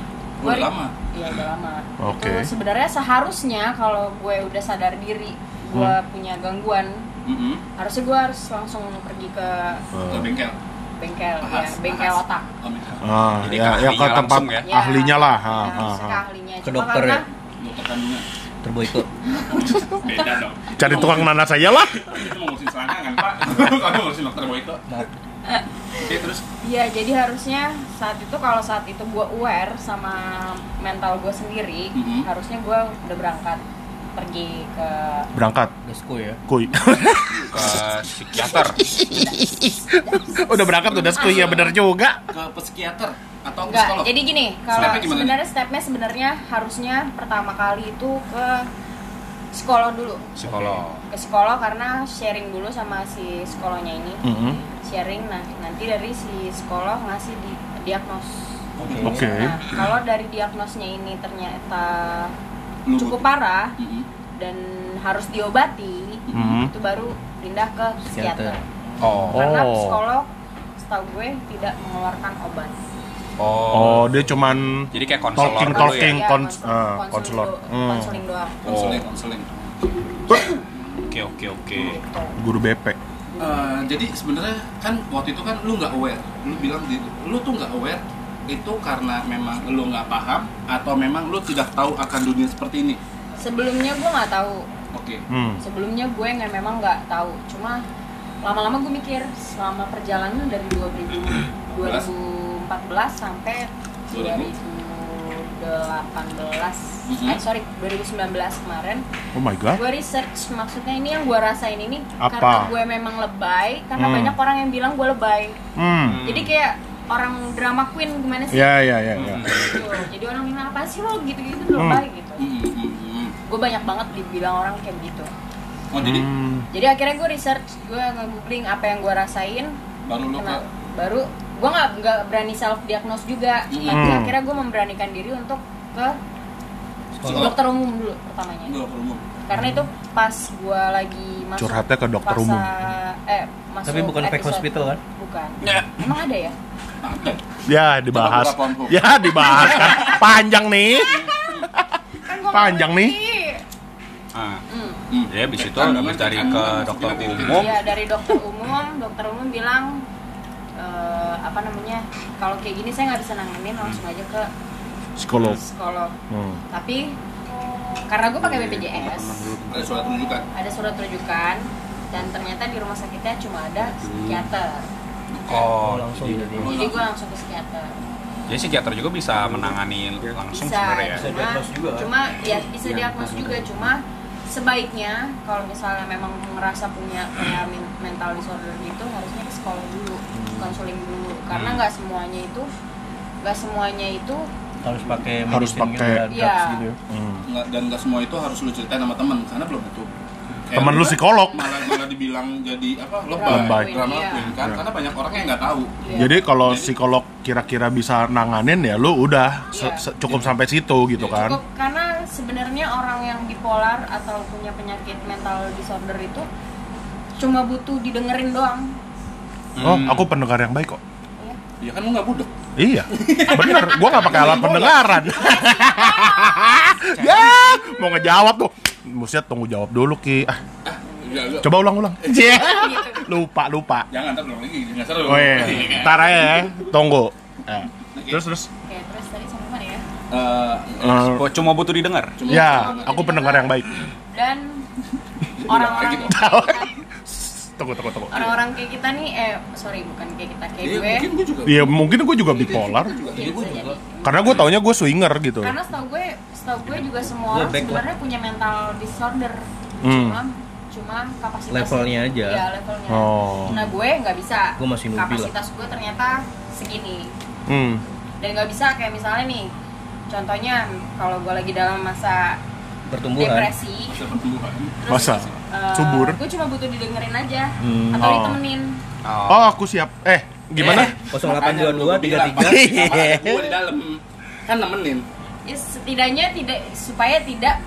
S5: Gua
S3: Udah
S5: re-
S3: lama.
S5: Iya udah lama.
S4: Oke.
S5: Itu sebenarnya seharusnya kalau gue udah sadar diri gue
S4: Hmm.
S5: punya gangguan
S3: Mm-hmm.
S5: harusnya gue harus langsung pergi ke
S3: Ke bengkel.
S5: bengkel
S3: Bahas,
S5: ya bengkel
S3: bahas.
S5: otak.
S3: Oh, bengkel.
S4: Ah,
S1: Jadi
S4: ya,
S1: ke
S4: ya ke
S1: ahlinya
S4: tempat
S1: langsung ya?
S5: Ya,
S4: ahlinya lah. Ah, Ha,
S5: ya,
S4: ha, ha.
S5: harusnya ke ahlinya.
S2: Ke
S5: Cuma
S2: dokter
S5: karena
S2: ya?
S3: Dokter kandungan.
S2: Terboikot.
S3: Beda dong.
S4: Cari tukang nanas saya lah.
S3: Itu mau ngurusin selangkangan, (laughs) Pak. Kamu ngurusin dokter Boyko.
S2: Maaf.
S3: Oke, terus
S5: Iya, jadi harusnya saat itu kalau saat itu gue aware sama mental gue sendiri,
S3: Mhm.
S5: harusnya gue udah berangkat pergi ke
S4: Berangkat,
S2: Gasku ya.
S4: kuy.
S1: ke psikiater
S4: (laughs) udah berangkat udah skuy ya bener juga.
S3: ke psikiater atau ke
S5: enggak.
S3: psikolog.
S5: Jadi gini, kalau
S3: Stepnya gimana?
S5: sebenarnya stepnya sebenarnya harusnya pertama kali itu ke psikolog dulu,
S1: psikolog
S5: ke psikolog karena sharing dulu sama si psikolognya ini,
S3: Hmm.
S4: Mhm.
S5: sharing. Nah, nanti dari si psikolog ngasih di diagnos.
S3: Oke.
S4: Oke.
S5: Nah, kalau dari diagnosnya ini ternyata
S3: Lu-
S5: cukup parah,
S3: Mm-mm.
S5: dan harus diobati
S3: Hmm.
S4: Mhm.
S5: itu baru pindah ke psikiater
S2: Psikiater.
S1: oh
S5: karena
S4: Oh.
S5: psikolog setahu gue tidak mengeluarkan obat
S1: oh
S4: Oh, dia cuman
S1: jadi kayak konselor
S4: Talking,
S1: dulu ya?
S4: talking.
S5: Iya,
S4: cons-
S5: konsul-
S4: Oh, ah,
S5: konseling
S4: konselor.
S5: do-
S4: Hmm.
S5: konseling doang
S3: Konseling, konseling.
S1: oke oke oke
S5: gitu
S4: guru BP.
S3: Eh, jadi sebenarnya kan waktu itu kan lu nggak aware, lu bilang di, lu tuh nggak aware itu karena memang lu nggak paham atau memang lu tidak tahu akan dunia seperti ini
S5: sebelumnya gue nggak tahu
S3: oke
S4: Hmm.
S5: sebelumnya gue nggak memang nggak tahu cuma lama-lama gue mikir selama perjalanan dari 2000 2014 sampai 2018 eh sorry 2019 kemarin
S4: Oh my god.
S5: gue research maksudnya ini yang gue rasain ini
S4: Apa?
S5: karena gue memang lebay karena
S4: Hmm.
S5: banyak orang yang bilang gue lebay
S4: Hmm.
S5: jadi kayak orang drama queen gimana sih
S4: Ya ya ya ya.
S5: gitu. jadi orang bilang apa sih lo gitu-gitu lebay gitu
S3: Hmm, hmm, hmm.
S5: gue banyak banget dibilang orang kayak gitu
S3: oh jadi
S4: Hmm.
S5: jadi akhirnya gue research gue nge-googling apa yang gue rasain
S3: baru lu ke
S5: kena- baru gue nggak nggak berani self diagnose juga
S3: Hmm.
S5: tapi akhirnya gue memberanikan diri untuk ke
S3: Psikolog.
S5: dokter umum dulu pertamanya
S3: Gua ke umum
S5: karena itu pas gue lagi masuk
S4: Curhatnya ke dokter
S5: fase-
S4: umum.
S5: eh masuk
S2: Tapi bukan fake
S5: episode-
S2: hospital kan?
S5: bukan
S3: Ya.
S5: emang ada ya
S3: Ada.
S4: Ya dibahas.
S3: Coba buka Pornhub.
S4: Ya dibahas (laughs) kan. Panjang nih.
S5: kan gua nggak
S4: Panjang nih.
S5: ngerti.
S1: Ah,
S5: Hmm.
S3: Hmm.
S1: jadi habis itu
S3: Kan,
S1: habis dari
S3: kan,
S1: ke
S3: kan,
S1: dokter
S3: kan,
S1: umum.
S5: Iya dari dokter umum, dokter umum bilang eh, apa namanya kalau kayak gini saya nggak bisa nanganin langsung aja ke
S4: Psikolog.
S5: psikolog.
S4: Hmm.
S5: Tapi karena gue pakai BPJS
S3: ada surat rujukan
S5: ada surat rujukan dan ternyata di rumah sakitnya cuma ada psikiater.
S1: Oh,
S2: Oh, langsung
S1: jadi,
S2: jadi.
S5: Jadi gue langsung ke psikiater.
S1: jadi psikiater juga bisa menangani langsung
S5: Bisa,
S1: sebenarnya ya.
S2: Bisa
S5: cuma,
S2: diagnos juga kan?
S5: cuma
S4: Iya.
S5: ya bisa diagnos juga cuma sebaiknya kalau misalnya memang ngerasa punya kayak men- mental disorder gitu harusnya ke psikolog dulu
S4: Hmm.
S5: konseling dulu karena nggak semuanya itu nggak semuanya itu
S2: Harus pakai
S4: Harus
S2: medicine gitu,
S4: pakai.
S2: ada drugs
S5: Iya.
S2: gitu ya.
S4: Hmm.
S3: Nggak, dan nggak semua itu harus lu ceritain sama teman karena belum tentu Kayak
S4: Temen lu
S3: gua
S4: psikolog.
S3: malah malah dibilang jadi apa
S4: Lebay.
S3: lebay drama
S5: Iya.
S3: queen kan
S4: Iya.
S3: karena banyak orang yang nggak tahu
S5: ya,
S4: Jadi kalau psikolog kira-kira bisa nanganin ya lu udah se-
S5: Iya.
S4: se- cukup sampai situ gitu
S5: cukup
S4: kan.
S5: karena sebenarnya orang yang bipolar atau punya penyakit mental disorder itu cuma butuh didengerin doang
S4: Oh, aku pendengar yang baik kok.
S5: ya.
S3: ya kan lu nggak budek
S4: Iya, bener. Gua nggak pakai alat
S5: (laughs)
S4: pendengaran. ya, mau ngejawab tuh. Mestinya tunggu jawab dulu ki. Ah,
S3: Ya, lu-
S4: coba ulang-ulang.
S5: gitu.
S4: Lupa, lupa.
S3: jangan ntar belum lagi nggak seru
S4: Oh iya,
S3: (laughs) Iya.
S4: ntar aja ya. Tunggu. Eh,
S3: Oke.
S4: Terus terus.
S5: Oke, terus tadi sampai mana ya
S3: Eh,
S4: Eh,
S1: Kok cuma butuh didengar?
S3: cuma-
S4: ya, aku pendengar yang baik. (laughs) Iya,
S5: dan orang-orang
S3: gitu.
S5: kayak kita-
S4: Tunggu, tunggu, tunggu.
S5: orang-orang kayak kita nih eh sorry bukan kayak kita kayak
S3: Iya,
S5: gue
S3: mungkin gue juga
S4: Iya, mungkin gue juga bipolar.
S3: juga
S5: Iya,
S3: Iya, gue
S5: bisa
S3: juga
S5: jadi.
S4: Karena gue taunya gue swinger gitu.
S5: karena setahu gue setahu gue juga semua
S2: Gue
S5: orang
S2: back
S5: sebenarnya punya mental disorder
S4: Hmm.
S5: cuma cuma kapasitas
S2: Levelnya aja.
S5: Iya, levelnya
S4: Oh.
S5: nah gue nggak bisa
S2: Gue masih newbie lah.
S5: kapasitas gue ternyata segini
S4: Hmm.
S5: dan nggak bisa kayak misalnya nih contohnya kalau gue lagi dalam masa
S2: Pertumbuhan.
S5: depresi
S3: Masa pertumbuhan.
S4: Masa?
S5: eh,
S4: Subur.
S5: gue cuma butuh didengerin aja
S2: Hmm.
S5: atau
S4: Oh.
S5: ditemenin
S4: Oh, aku siap. Eh, gimana?
S2: 0822
S3: Makanya
S2: 33.
S3: lu bilang, Gue di dalam kan nemenin
S5: ya setidaknya tidak supaya tidak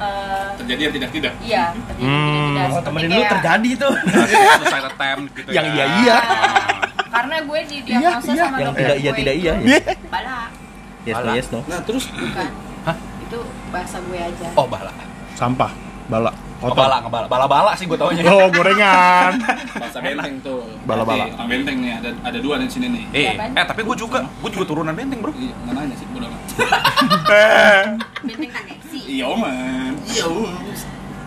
S5: eh,
S3: terjadi yang tidak tidak
S5: Iya, terjadi tidak-tidak.
S2: Oh,
S5: Seperti ya.
S2: temenin lu
S5: kayak-
S2: terjadi tuh.
S1: Selesai attempt gitu
S4: Yang
S1: ya.
S4: iya iya.
S5: Nah, Karena gue di diagnosa
S4: Iya, iya.
S5: sama
S2: Yang
S5: dokter
S2: tidak iya
S5: gue
S2: tidak
S5: itu
S2: iya ya.
S5: Bala,
S2: Yes no
S1: Alah.
S2: yes no.
S3: nah terus
S5: bukan.
S1: Hah?
S5: Itu bahasa gue aja.
S1: Oh, bala.
S4: Sampah, bala,
S1: Oh,
S4: kotor.
S1: bala, bala. Bala-bala sih gue taunya.
S4: Oh, gorengan.
S3: bahasa benteng tuh
S4: Bala-bala.
S3: Berarti, ah, benteng nih ada ada dua di sini nih
S1: Eh,
S5: Apaan?
S1: eh tapi gue juga, gue juga turunan benteng bro.
S3: Iya, nggak nanya sih bodo amat. (laughs)
S4: Eh.
S5: Benteng koneksi.
S3: Iya, man. Iya, Om.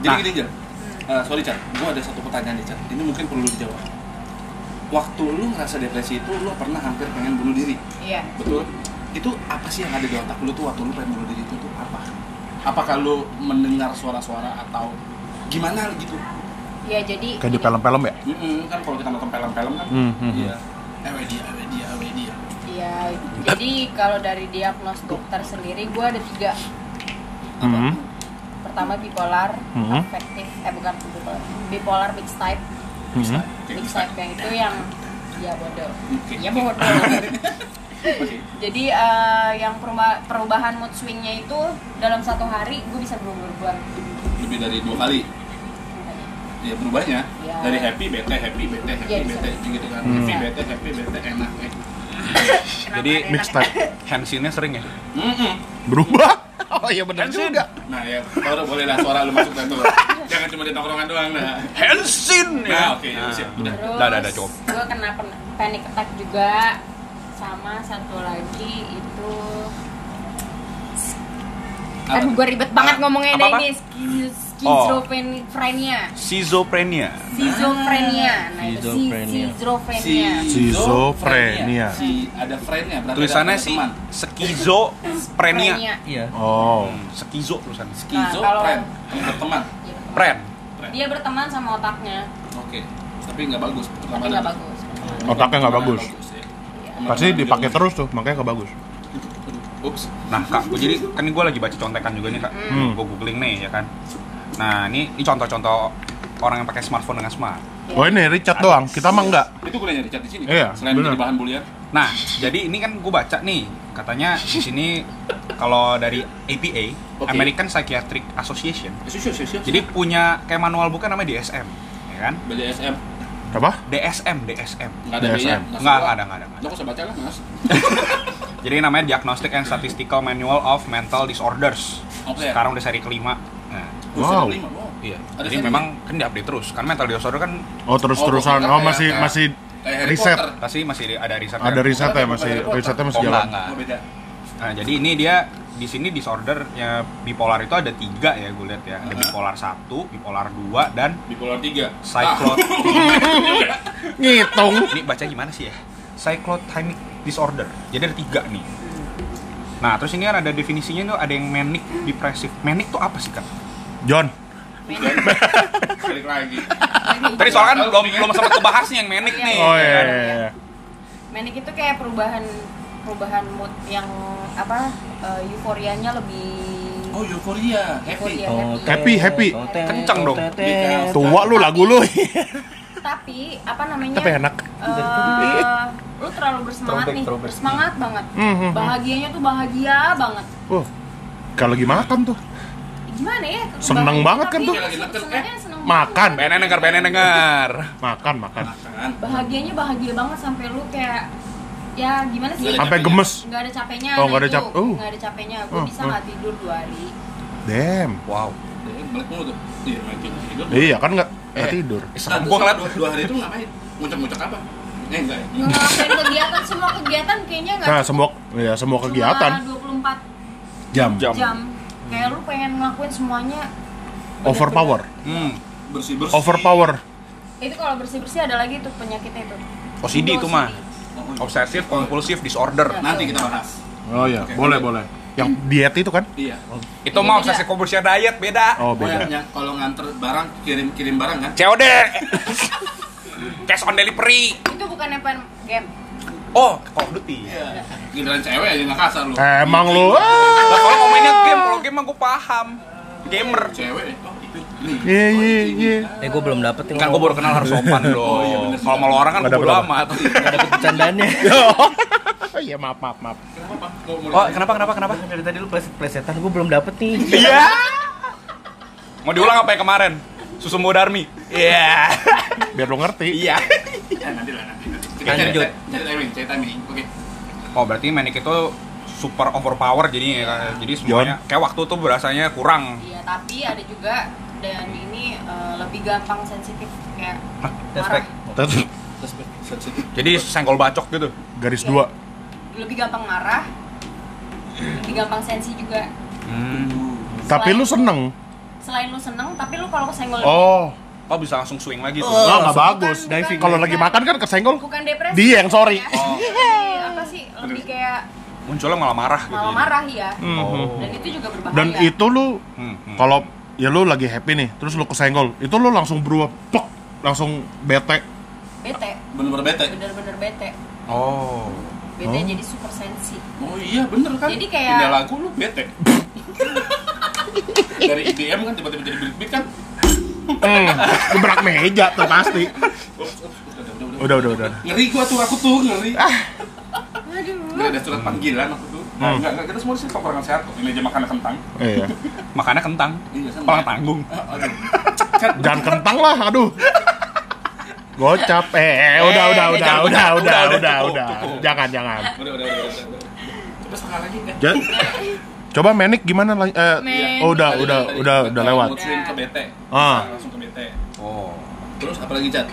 S3: Jadi
S1: Nah.
S3: gini, Jar. Eh, sorry, Jar. Gue ada satu pertanyaan nih, Jar. Ini mungkin perlu dijawab. Waktu lu ngerasa depresi itu, lu pernah hampir pengen bunuh diri.
S5: Iya.
S3: Betul. Itu apa sih yang ada di otak lu tuh waktu lu pengen bunuh diri itu tuh apa? Apakah lu mendengar suara-suara atau gimana gitu?
S5: Iya, jadi
S4: Kayak di film-film ya?
S3: Mm-mm, kan kalau kita nonton film-film kan.
S4: Hmm, hmm,
S3: Iya. Ewe dia, ewe dia, ewe dia.
S5: Iya, jadi kalau dari diagnos dokter sendiri gue ada tiga.
S4: Hmm.
S5: Pertama bipolar,
S4: Mhm.
S2: Hmm.
S5: afektif, eh bukan bipolar. Bipolar mixed type.
S4: Hmm.
S3: Oke.
S5: Mixed type yang itu yang ya bodoh.
S3: Oke.
S5: Ya bodoh.
S3: Oke.
S5: Jadi eh, yang peruba- perubahan mood swingnya itu dalam satu hari gue bisa berubah-ubah.
S3: Lebih dari dua kali. ya berubahnya
S5: Ya.
S3: dari happy bete happy bete happy
S5: Ya, bisa.
S3: bete gitu kan
S4: Hmm.
S3: happy bete happy bete enak eh.
S1: Jadi
S4: Mix type.
S1: handsinnya sering ya.
S3: Mm-mm.
S4: (laughs) Berubah? Oh iya bener
S1: Hansin.
S4: juga.
S3: nah ya baru boleh lah suara lu masuk kan tuh jangan cuma di tongkrongan doang nah
S1: Handsin
S3: nah oke siap udah
S5: Terus
S1: Udah, udah, udah, cukup.
S5: gue kena pen- panic attack juga sama satu lagi itu
S3: Apa?
S5: aduh gue ribet banget ngomongnya
S1: Apa-apa?
S5: ada ini skiz- skizofrenia
S1: Schizophrenia.
S5: Schizofrenia. Nah, itu si-
S2: Schizophrenia.
S5: schizophrenia.
S4: Schizophrenia.
S3: Si ada friendnya berarti
S1: Tulisannya
S3: ada
S1: sih
S3: teman.
S1: schizophrenia.
S2: Iya.
S4: Oh.
S1: Skizo tulisannya.
S3: Kizo
S5: Nah, kalau-
S3: friend, teman berteman.
S1: Pren.
S5: gitu. Dia berteman sama otaknya,
S3: Oke. Tapi nggak bagus.
S5: tapi nggak bagus.
S4: Otaknya nggak bagus.
S3: ya.
S4: Pasti dipakai terus tuh, makanya nggak bagus.
S3: Ups.
S1: Nah, Kak, gua jadi kan gue lagi baca contekan juga nih, Kak.
S4: Hmm.
S1: Gue googling nih, ya kan. Nah, ini ini contoh-contoh orang yang pakai smartphone dengan smart.
S4: Oh ini Richard doang, kita mah enggak.
S3: Itu gue nyari chat di sini.
S4: Iya,
S3: Selain
S4: bener.
S3: jadi bahan bulian.
S1: Nah, jadi ini kan gue baca nih, katanya di sini kalau dari APA,
S3: Oke.
S1: American Psychiatric Association,
S3: Jadi
S1: jadi punya kayak manual bukan namanya DSM, ya kan?
S3: BDSM
S4: Apa?
S1: DSM, DSM.
S3: nggak ada
S4: BDSM.
S3: B-nya.
S1: Nggak, nggak ada, nggak ada, nggak ada.
S3: Lo nggak usah baca lah, Mas.
S1: Jadi namanya Diagnostic and Statistical Manual of Mental Disorders.
S3: Oke.
S1: Sekarang udah seri kelima. Nah,
S3: Gua
S4: Wow.
S3: seri lima, wow.
S1: iya.
S3: Ada
S1: Jadi
S3: seri ya?
S1: memang kan diupdate terus. Kan mental disorder kan
S4: Oh terus-terusan, oh masih
S3: Kayak-
S4: masih
S3: kayak Harry
S4: riset.
S3: Potter.
S1: pasti masih ada riset.
S4: Ada
S1: kan?
S4: riset ya, masih risetnya masih
S1: Oh,
S4: jalan.
S1: enggak.
S3: Oh, beda.
S1: Nah, jadi ini dia di sini disorder ya bipolar itu ada tiga ya gue lihat ya. Ada
S3: Uh-huh.
S1: bipolar satu, bipolar 2 dan
S3: Bipolar 3.
S1: cyclot.
S4: Ngitung.
S1: ini baca gimana sih ya? Cyclotimic disorder. Jadi ada tiga nih. Nah, terus ini kan ada definisinya tuh ada yang manic depressive. Manic tuh apa sih, Kak?
S4: John,
S3: Ah, Balik lagi.
S1: Tadi soalnya kan belum belum sempat kebahas nih yang manic
S3: Eh.
S1: nih.
S4: oh iya,
S1: ya kan?
S4: iya, iya.
S5: Manic itu kayak perubahan perubahan mood yang apa eh, euforianya lebih
S3: Oh, euforia, happy.
S5: euforia
S4: Happy, happy.
S1: Kenceng dong. Iya,
S4: tua lu lagu lu. (laughs)
S5: Tapi apa namanya?
S4: Tapi enak.
S5: eh, lu terlalu bersemangat
S2: Throwback,
S5: nih,
S2: throwback.
S5: semangat banget.
S4: Hmm, hmm,
S5: Bahagianya tuh bahagia banget.
S4: Oh, kalau lagi makan tuh.
S5: Gimana ya?
S4: Seneng
S5: Bahagia,
S4: banget kan
S5: tapi
S4: tuh.
S3: Lagi eh. neken,
S5: senengnya seneng
S4: Makan.
S5: banget.
S1: Benen denger, benen denger.
S4: Makan, makan.
S3: Makan.
S5: Bahagianya bahagia banget sampai lu kayak ya gimana sih?
S3: Nggak ada
S4: Sampai gemes.
S5: nggak ada capeknya
S4: Oh,
S5: nah
S4: nggak ada
S5: itu.
S4: cap- uh.
S5: nggak ada capeknya gue
S4: Uh,
S5: bisa
S4: uh.
S5: nggak tidur dua hari
S4: Damn.
S1: Wow.
S3: Eh, Balik mulu tuh. Iya, makin tidur.
S4: Iya kan nggak nggak tidur.
S1: Serem
S3: Nah, terus
S1: gua ngeliat.
S3: dua, dua hari itu ngapain? Ngucek-ngucek apa? Eh, enggak ya?
S5: ngelakuin kegiatan semua kegiatan kayaknya nggak
S4: Nah, semua ya semua kegiatan
S5: cuma
S4: jam.
S1: Jam.
S5: 24 jam kayak lu pengen ngelakuin semuanya bener-bener.
S4: Overpower.
S1: Hmm.
S3: Bersih-bersih.
S4: Overpower.
S5: itu kalau bersih bersih ada lagi tuh penyakitnya itu
S1: OCD itu mah.
S3: Oh, iya.
S1: Obsesif compulsive disorder.
S3: Nanti kita bahas.
S4: Oh iya,
S3: Oke.
S4: boleh boleh. Yang diet itu kan?
S3: Iya.
S1: Itu
S5: Ini
S1: mah
S5: beda.
S1: obsesif compulsive diet beda.
S4: Oh
S3: Oh,
S4: beda.
S3: yang, yang kalau nganter barang kirim-kirim barang kan?
S1: COD. Cash on delivery.
S5: itu bukannya pen game
S1: Oh, Call of Duty.
S3: Iya. Giliran cewek aja nggak kasar lu.
S4: Emang lu. ah.
S1: Lah kalau mau mainnya game, kalau game mah gue paham. Gamer.
S3: Cewek. Oh, itu. Nih.
S4: Iya iya
S3: Oh, ini.
S4: iya.
S2: Eh gue belum dapet nih
S1: Kan gue baru kenal harus sopan
S3: Oh, iya
S1: dong.
S3: bener.
S1: Kalau mau orang kan
S4: Nggak
S1: gue
S4: dapet
S1: lama.
S2: Gak dapet
S1: (laughs)
S2: bercandaannya
S4: Oh iya maaf maaf maaf.
S3: Kenapa, Pak? Mau mulai
S1: Oh,
S3: tanya?
S1: kenapa kenapa kenapa?
S2: Dari tadi lu pleset plesetan gue belum dapet nih
S1: Iya. Mau diulang apa ya kemarin? Susu Modarmi. Iya.
S4: Biar lu ngerti.
S1: Iya.
S3: Ya, nanti lah, nanti. nanti. Kita
S2: Lanjut.
S3: cari, cari timing, cari timing. Oke.
S1: Oh, berarti Manic itu super overpower jadi ya. Jadi semuanya kayak waktu tuh berasanya kurang.
S5: iya tapi ada juga dan ini eh, lebih gampang sensitif kayak
S2: Respect
S5: marah
S4: Terus
S3: Sensitif.
S1: Jadi senggol bacok gitu.
S4: garis dua.
S5: lebih gampang marah lebih gampang sensi juga
S4: Tapi lu seneng.
S5: selain lu seneng tapi lu kalau kesenggol
S4: Oh,
S1: Oh, bisa langsung swing lagi tuh.
S4: nggak nggak
S5: bukan,
S4: bagus.
S5: bukan.
S4: Kalau lagi makan kan kesenggol.
S5: bukan depresi
S4: Dia yang sorry.
S5: ya.
S1: Oh.
S5: Lebih apa sih lebih kayak
S1: Munculnya malah marah gitu. ya.
S5: malah marah ya
S1: Oh.
S5: dan itu juga berbahaya
S4: Hmm. Mhm. Dan itu lu
S1: Hmm, hmm.
S4: kalau ya lu lagi happy nih, terus lu kesenggol, itu lu langsung berubah, pok, langsung bete.
S5: bete
S3: Bener-bener bete.
S5: bener-bener bete
S1: Oh.
S5: bete
S4: Oh.
S5: jadi super sensi
S3: Oh iya bener kan?
S5: Jadi kayak-
S3: Pindah lagu lu bete. (laughs) Dari IDM kan tiba-tiba jadi beat-beat kan?
S4: Hmm, gebrak meja tuh pasti.
S3: Ups, ups, udah, udah, udah.
S4: Udah udah udah.
S3: Ngeri gua tuh aku tuh ngeri. Nggak
S5: aduh
S3: ada surat panggilan aku tuh. Nah,
S4: Hmm.
S3: enggak, enggak, kita semua sih kekurangan sehat kok. Ini aja makan kentang.
S4: Iya.
S1: Makannya kentang.
S3: Iya, kan?
S1: Orang tanggung.
S3: Aduh.
S4: Jangan kentang lah, aduh. Gocap. Eh, eh, udah, udah,
S1: Eh,
S4: udah,
S1: jangan
S4: udah,
S1: gocap,
S4: udah,
S1: udah,
S4: udah,
S1: cukup,
S4: udah.
S1: cukup.
S4: Jangan, jangan.
S3: Udah, udah, udah, udah, udah. Coba setengah lagi kan?
S4: Ja- Coba menik gimana lagi? Eh,
S5: Manic.
S4: oh, udah, udah, udah, udah lewat.
S3: Langsung ke bete.
S4: Ah.
S3: Langsung ke bete.
S1: Oh.
S3: Terus apa lagi, Chat?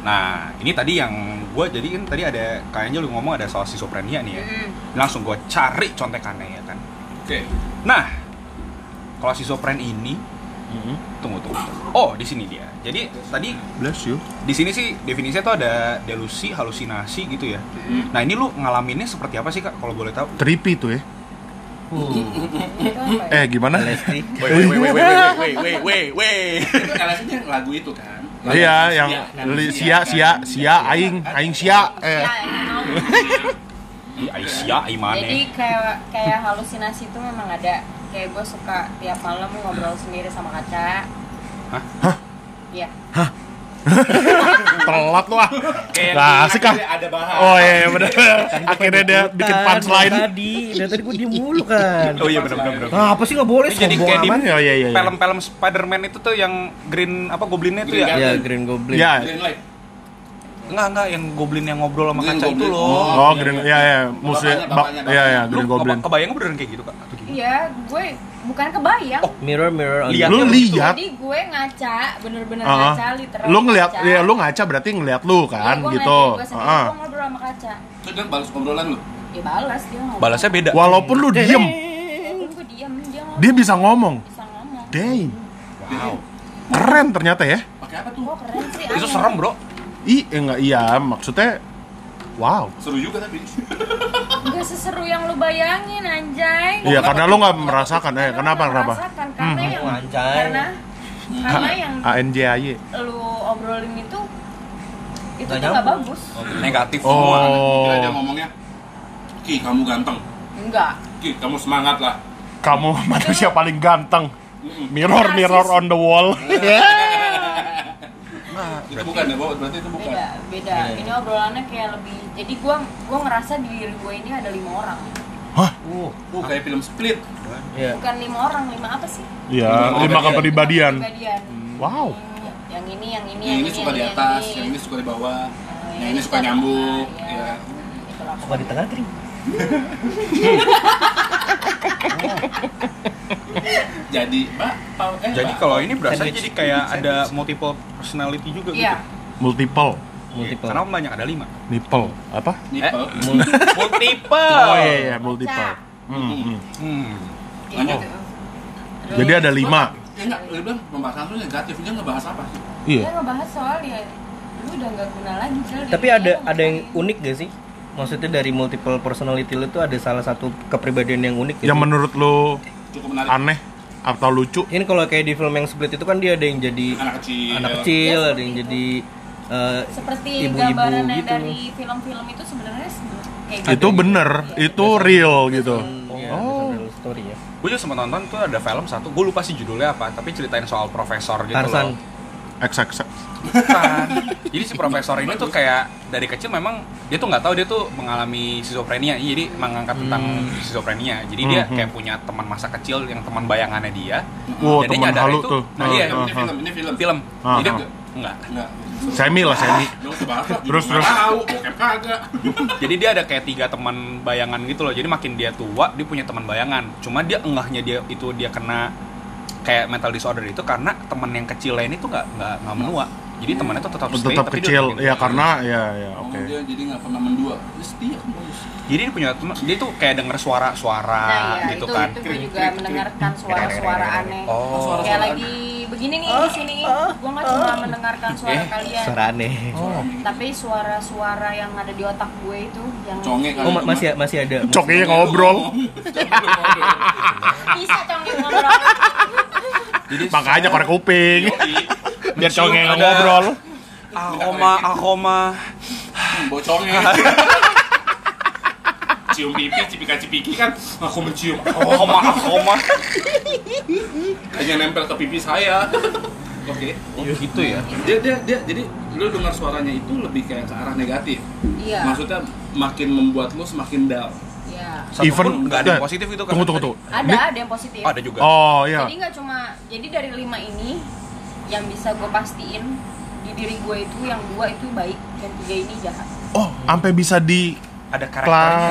S1: Nah, ini tadi yang gue jadiin tadi ada kayaknya lu ngomong ada soal sisoprenia nih ya.
S5: Mm-mm.
S1: Langsung gue cari contekannya ya kan.
S3: Oke.
S1: Nah, kalau sisopren ini tunggu tunggu. tunggu. Oh, di sini dia. Jadi tadi
S4: Bless you.
S1: di sini sih definisinya tuh ada delusi, halusinasi gitu ya.
S3: Hmm.
S1: Nah, ini lu ngalaminnya seperti apa sih Kak kalau boleh tahu?
S4: Tripi tuh ya.
S5: Itu apa
S4: Eh
S5: ya?
S4: gimana?
S2: LSD.
S4: Wait, wait, wait, wait, wait, wait, wait,
S3: Itu LSD-nya lagu itu kan. Lagu
S4: (laughs) Iya,
S3: Sia
S4: yang
S3: kan?
S4: li- sia Nah, sia sia aing aing sia eh
S1: Iya,
S5: Ya, yang
S1: (laughs)
S5: tahu.
S1: Di Aisyah, ya.
S5: Jadi
S1: Imane.
S5: kayak kayak halusinasi itu memang ada. Kayak gue suka tiap malam ngobrol sendiri sama kaca.
S1: Hah?
S5: Iya.
S4: telat lu ah.
S3: Kayak
S4: Nah,
S3: di-
S4: asik ah.
S3: Ada bahan.
S4: Oh iya
S3: Kan
S4: (laughs) benar. Akhirnya dia
S2: Ikutan
S4: bikin
S2: dari
S4: punchline.
S2: Tadi, dari tadi gue diem mulu kan.
S1: Oh iya benar benar benar.
S2: Nah, apa sih nggak boleh
S1: Ini jadi
S2: sombong
S1: kayak di
S2: amat?
S4: Iya iya iya.
S1: Film-film Spider-Man itu tuh yang green apa goblinnya tuh
S3: Green
S1: ya?
S3: Goblin.
S2: Ya Green Goblin.
S4: Iya.
S3: Green light.
S1: Enggak enggak yang goblin yang ngobrol sama
S3: Green
S1: kaca itu
S3: Goblin.
S1: loh.
S4: Oh Green ya ya musuh
S3: Bapaknya, bapaknya,
S4: ya ya
S1: Lu
S4: Green Goblin.
S1: keba- kebayang beneran kayak gitu kak? Atau gimana?
S5: Iya, gue bukan kebayang.
S1: Oh,
S2: Mirror mirror on the
S1: Lihat.
S4: Lu
S1: Iya.
S4: lihat
S5: Jadi gue ngaca, bener-bener
S4: Ah,
S5: ngaca literal.
S4: lu ngeliat,
S5: ngaca.
S4: ya lu ngaca berarti ngeliat lu
S5: Iya,
S4: kan
S5: gua
S4: gitu.
S5: ngeliat diri Gue sendiri,
S4: Heeh.
S5: gue ngobrol sama kaca.
S3: Terus dia balas obrolan lu.
S5: Ya balas dia ngomong.
S1: Balasnya
S3: Ya.
S1: beda.
S4: Walaupun lu diem,
S5: Walaupun gue diam, dia ngomong.
S4: dia bisa ngomong.
S5: bisa ngomong.
S4: Damn,
S1: Wow.
S4: keren ternyata ya.
S3: Pakai apa tuh?
S5: Gue keren sih.
S1: Itu
S5: aneh.
S1: serem bro.
S4: I enggak iya, maksudnya wow.
S3: Seru juga tapi.
S5: Gak seseru yang lu bayangin anjay.
S4: Iya,
S3: Oh, kenapa
S4: karena
S3: tuh?
S4: lu nggak merasakan eh kenapa Hmm.
S5: lu
S4: kenapa?
S5: merasakan, Karena yang
S2: Oh, anjay.
S5: karena karena yang
S4: Ah. ANJAY.
S5: lu obrolin itu itu
S2: Nggak
S5: tuh gak
S2: nyambung.
S5: bagus.
S1: Negatif semua.
S3: Gila dia
S4: Oh,
S3: ngomongnya. Ki, kamu ganteng.
S5: Enggak.
S3: Ki, kamu semangat lah.
S4: kamu (laughs) manusia paling ganteng. Mirror, mirror on the wall.
S5: Iya,
S3: Itu bukan ya, Bo? berarti itu bukan.
S5: Beda, beda.
S2: Iya.
S5: Ini obrolannya kayak lebih jadi gua gua ngerasa di diri gue ini ada lima orang.
S2: Uh,
S3: Oh, kayak film split.
S2: iya.
S5: Bukan lima orang, lima apa sih?
S1: Iya,
S4: Ya, lima kepribadian.
S5: Kepribadian.
S4: Wow.
S5: Hmm, Yang ini, yang ini,
S3: Yang ini suka di atas, yang ini suka di bawah, yang ini suka nyambuk. Ya.
S5: Itulah
S2: Suka di tengah kering.
S3: Jadi, Pak, eh,
S1: Jadi
S3: Pak.
S1: kalau ini berasa
S2: Sandwich.
S1: jadi kayak ada multiple personality juga
S5: Iya.
S1: gitu.
S4: Multiple,
S2: Multiple.
S1: Iya, Karena banyak ada lima.
S4: nipple, apa?
S3: nipel. (laughs)
S1: Multiple.
S4: Oh iya iya, multiple. Hmm, hmm.
S1: Hmm.
S3: Lanjut.
S5: Gitu.
S4: Jadi ada lima.
S3: Ya enggak, dia bilang pembahasan lu negatif, dia ngebahas apa sih?
S5: Dia
S4: Iya.
S5: ngebahas soal ya lu udah nggak guna lagi Jel.
S2: Tapi
S5: Dia
S2: ada
S5: nggak
S2: ada yang
S5: ngapain.
S2: unik gak sih? Maksudnya dari multiple personality lu tuh ada salah satu kepribadian yang unik gitu.
S4: Yang menurut lu
S3: Cukup menarik.
S4: aneh atau lucu?
S2: Ini kalau kayak di film yang split itu kan dia ada yang jadi
S3: Anak kecil.
S2: anak kecil,
S5: Iya,
S2: ada yang
S5: seperti
S2: jadi eh,
S5: seperti
S2: ibu-ibu
S5: gambaran yang
S2: gitu.
S5: dari film-film itu sebenarnya se- kayak gitu. Nah,
S4: Itu bener, itu real gitu.
S2: Iya,
S4: Oh.
S2: ada real story ya.
S1: Gue juga sempat nonton tuh ada film satu, gue lupa sih judulnya apa, tapi ceritain soal profesor gitu
S2: Tarzan.
S1: loh.
S5: Iya.
S4: XXX.
S1: Bukan. Jadi si profesor ini tuh kayak dari kecil memang dia tuh nggak tahu dia tuh mengalami schizophrenia. Iya, Jadi mengangkat tentang schizophrenia. Jadi dia
S4: Mhm.
S1: kayak punya teman masa kecil yang teman bayangannya dia.
S4: Wow,
S1: Jadi
S4: teman
S1: nyadar
S4: halu
S1: itu-
S4: tuh.
S1: nah,
S4: Ah,
S1: iya,
S4: ah,
S3: Ya, Ini
S4: ah.
S3: film, ini film.
S1: Film.
S4: Ah,
S1: Jadi
S4: ah.
S1: dia- enggak.
S3: Enggak.
S4: Semi lah, semi.
S3: Lu ngebahas lah.
S4: Terus,
S3: Nggak
S4: terus.
S3: Tahu, bokep kagak.
S1: (laughs) Jadi dia ada kayak tiga teman bayangan gitu loh. Jadi makin dia tua, dia punya teman bayangan. Cuma dia enggahnya dia itu dia kena kayak mental disorder itu karena teman yang kecil lain itu nggak nggak nggak menua. Jadi temannya tuh tetap stay,
S4: Tetap
S1: tapi dia Iya.
S4: kecil,
S1: makin-
S4: ya karena ya ya
S3: Oh,
S4: oke.
S3: Dia jadi nggak pernah mendua. Dia setia kan boys.
S1: gitu. Jadi dia punya teman, dia tuh kayak denger suara-suara
S5: Nah, iya,
S1: gitu
S5: itu,
S1: kan.
S5: itu gue juga mendengarkan suara-suara aneh.
S1: Oh.
S5: Kayak lagi begini nih di sini. Gue nggak cuma mendengarkan suara kalian,
S2: Suara aneh.
S1: Oh.
S5: tapi suara-suara yang ada di otak gue itu yang
S3: Conge kali.
S2: Oh, ma-
S3: itu,
S2: masih masih ada. Iya,
S4: Coknya Iya,
S3: (laughs)
S4: ngobrol.
S5: bisa conge ngobrol.
S1: Jadi
S4: Makanya korek kuping. Biar
S1: Mencium
S4: coknya
S1: ada-
S4: ngobrol.
S1: aroma aroma
S3: Hmm, Bau conge. Cium pipi, cipika-cipiki kan. Aku mencium. Oh,
S1: aroma aroma.
S3: hanya nempel ke pipi saya. (laughs) Oke.
S1: Oh, gitu ya.
S3: Dia dia dia jadi lu dengar suaranya itu lebih kayak ke arah negatif.
S5: Iya.
S3: Maksudnya makin membuat lu semakin down.
S5: Iya.
S1: Satupun
S4: Even- Eh,
S1: nggak ada yang positif itu kan.
S4: Tunggu tunggu tunggu.
S5: Ada
S4: Ini-
S5: ada yang positif.
S1: Ada juga.
S4: Oh iya.
S5: Jadi nggak cuma, jadi dari lima ini yang bisa gue pastiin di diri gue itu yang dua itu baik, yang tiga ini jahat.
S4: Oh, sampai bisa di
S1: Ada karakternya.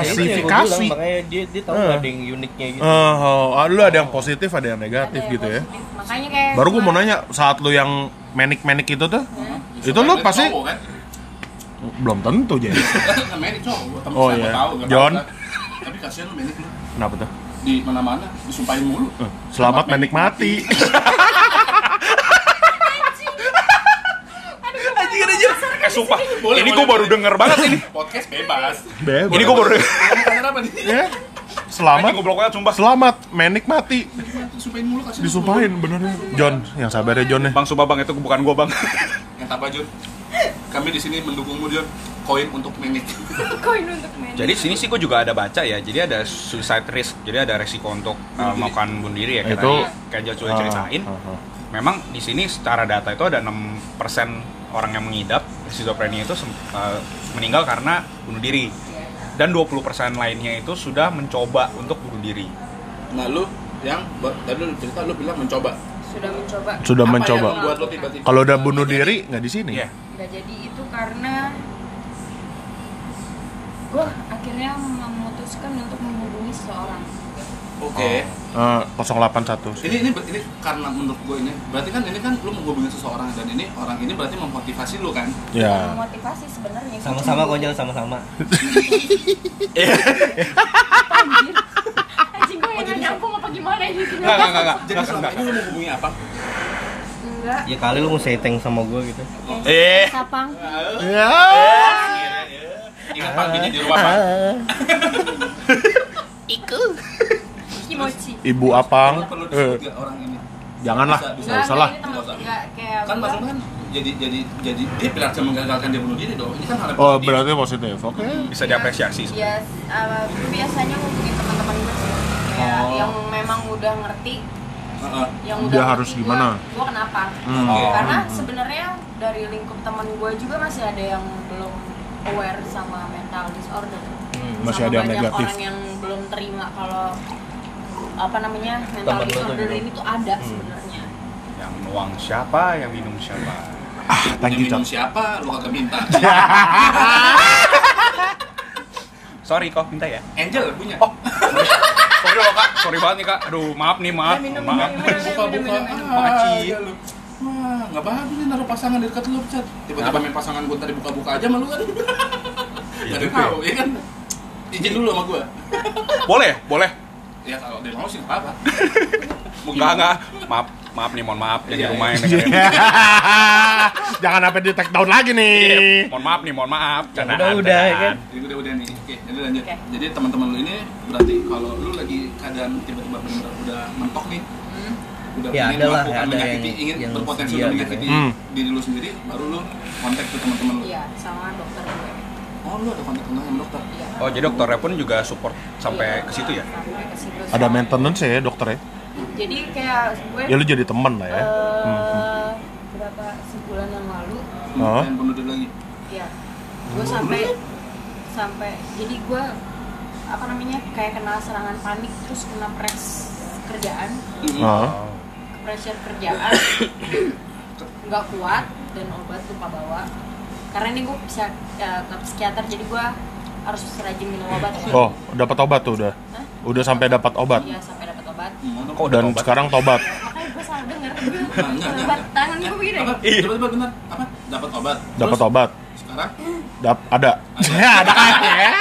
S2: Ya, itu yang
S1: ya, berarti.
S2: gua bilang,
S4: Klasifikasi.
S2: makanya dia dia tahu
S4: Eh.
S2: nggak ada yang uniknya gitu.
S4: Eh, oh, ah, lu ada yang positif, ada yang negatif
S5: Ada yang
S4: gitu ya.
S5: positif. Makanya kayak (laughs)
S4: Baru gua mau
S5: kemarin-
S4: nanya saat lu yang manic-manic itu tuh,
S5: Hmm.
S4: itu lu
S3: Soalnya
S4: pasti
S3: cowok, kan? (laughs)
S4: Belum tentu jadi.
S3: kan Merik cowok temen
S4: Oh,
S3: saya
S4: iya.
S3: nggak tahu nggak
S4: John.
S3: tahu, kan. tapi kasihan lu Merik lu
S4: Kenapa tuh?
S3: di mana-mana disumpahin mulu
S4: Eh, Selamat menikmati.
S1: Anjing anjir. Eh sumpah,
S3: Boleh, boleh,
S1: ini gue baru
S3: boleh.
S1: denger banget ini.
S3: podcast bebas
S4: Bebas.
S1: Ini gue baru denger.
S3: Kamu apa nih
S4: Ya.
S1: Anjing
S4: Selamat.
S1: goblok banget sumpah.
S4: Selamat menikmati.
S3: disumpahin mulu kasihan
S4: Disumpahin bener ya. John, yang sabar ya John ya.
S1: Bang Subabang itu bukan gue bang.
S3: yang apa Jun kami di sini mendukungmu Jun koin untuk Merik
S5: koin untuk main
S1: (laughs) Jadi sini sih gue juga ada baca ya. Jadi ada suicide risk. Jadi ada resiko untuk uh, melakukan bunuh diri ya. Kita
S4: Itu-
S1: kayak Jojo sudah ceritain.
S4: Ah, ah, ah.
S1: Memang di sini secara data itu ada 6% orang yang mengidap schizophrenia itu sem- uh, meninggal karena bunuh diri. Dan 20% lainnya itu sudah mencoba untuk bunuh diri.
S3: nah lu yang ba- tadi lu cerita lu bilang mencoba
S5: sudah mencoba
S4: Sudah
S3: apa yang
S4: mencoba.
S3: membuat lu tiba-tiba
S4: Kalau udah bunuh diri nggak di sini.
S1: Iya.
S5: nggak jadi itu karena gue akhirnya memutuskan untuk menghubungi seseorang
S3: oke
S4: Eh, 081.
S3: ini ini ber- ini karena menurut gue ini berarti kan ini kan lu menghubungi seseorang dan ini orang ini berarti memotivasi lu kan
S5: Yang
S4: Ya.
S5: memotivasi sebenarnya
S2: Sama-sama konyol sama-sama.
S5: anjir anjing gue yang nggak nyambung apa gimana ini
S1: Enggak, enggak, enggak.
S3: jadi selama ini lu menghubungi apa
S5: enggak
S2: Ya kali lu mau setting sama gua gitu.
S1: Eh.
S5: sapang
S4: Ya.
S1: Ah.
S3: ingat paginya di rumah pak
S5: kimochi
S4: Ibu
S3: Lu
S1: Ah.
S4: apang.
S3: perlu
S4: Eh,
S3: disebut nggak orang ini
S4: janganlah.
S3: Bisa, bisa.
S4: Nggak usah lah.
S5: ini teman- enggak kayak
S3: kan
S5: gua-
S3: maksudnya kan jadi jadi jadi dia tidak bisa menggagalkan dia bunuh diri dong ini kan hal yang
S4: Oh,
S3: positif.
S4: berarti positif. Oke.
S1: Bisa diapresiasi sebenarnya.
S5: ya uh, gue biasanya ngomongin teman-teman gue sih kayak
S3: Oh.
S5: yang memang udah ngerti
S3: Heeh.
S5: yang
S4: Dia
S5: udah ngerti
S4: harus gimana?
S5: gue, gue kenapa
S4: Hmm.
S3: Oh.
S5: karena sebenarnya dari lingkup teman gue juga masih ada yang belum aware sama mental disorder
S4: Hmm, masih
S5: sama
S4: ada yang
S5: banyak
S4: negatif.
S5: orang yang belum terima kalau apa namanya mental
S2: Temen lu tuh
S5: disorder
S2: gitu.
S5: ini tuh ada
S2: Hmm.
S5: sebenarnya
S1: Yang nuang siapa, yang minum siapa.
S4: Thank you,
S3: Yang minum
S4: Cok.
S3: siapa lu kagak minta
S1: Sorry kok, minta ya.
S3: Angel punya
S1: Oh. Sorry loh kak, sorry banget nih kak. Aduh maaf nih maaf.
S5: Eh, Minum, minum,
S1: maaf.
S5: minum, minum,
S3: buka buka
S5: minum, minum.
S1: Makasih.
S3: Wah, nggak bagus nih naruh pasangan di dekat lu, Cat. Tiba-tiba main pasangan gue tadi buka-buka aja malu kan.
S5: Iya.
S1: Iya,
S3: Gak ada yang tahu, ya kan? Izin dulu sama gue.
S1: Boleh, boleh.
S3: Ya kalau dia mau sih nggak apa-apa. Mau
S1: Enggak
S3: gimana?
S1: enggak. Maaf, maaf nih mohon maaf yang di
S3: Iya,
S1: rumah
S2: (laughs)
S1: yang dengerin.
S4: (laughs) Jangan sampai di take down lagi
S1: Iya,
S4: nih.
S1: Mohon maaf nih, mohon maaf. Candaan,
S2: udah, udah, ya kan?
S1: candaan.
S3: Jadi udah udah nih. Oke, jadi lanjut.
S5: Oke.
S3: Jadi teman-teman lu ini berarti kalau lu lagi keadaan tiba-tiba benar udah mentok nih,
S5: Hmm.
S3: udah
S2: Ya,
S3: pengen
S2: ada lah,
S3: melakukan
S2: ada
S3: menyakiti,
S2: yang-
S3: ingin
S2: yang
S3: berpotensi
S2: sedia
S3: untuk
S2: gitu ya.
S3: menyakiti
S4: Hmm.
S3: diri lu sendiri, baru lu kontak ke teman-teman lu.
S5: iya sama dokter gue
S3: Oh, lu ada kontak kontak sama dokter.
S5: iya
S1: Oh, jadi dokternya pun juga support sampai ke situ ya?
S5: Sampai ke situ.
S4: Ada
S5: Sampai-
S4: maintenance ya dokter ya.
S5: jadi kayak gue
S4: Ya lu jadi temen lah ya.
S5: eh,
S4: Hmm.
S5: berapa sebulan yang lalu
S3: Lu
S4: Oh.
S3: pengen bunuh diri lagi.
S5: ya gue sampai
S4: Hmm.
S5: sampai jadi gue apa namanya kayak kena serangan panik terus kena press kerjaan
S3: Mm-mm.
S4: Ah.
S5: pressure kerjaan nggak kuat dan obat lupa bawa karena ini gue bisa eh, ke psikiater jadi gue harus rajin minum obat ya.
S4: Oh, dapat obat tuh udah.
S5: Hah?
S4: Udah sampai dapat obat.
S5: Iya, sampai dapat obat
S3: Hmm.
S1: Kok
S4: Dan sekarang tobat.
S5: makanya gue salah denger
S3: enggak,
S5: obat tangan gue begini
S3: Apa?
S1: Iya.
S3: Coba coba benar. Apa? Dapat obat.
S4: Dapat
S3: Terus,
S4: obat.
S3: Sekarang
S4: Dap ada. Ya, (laughs) ada kan ya.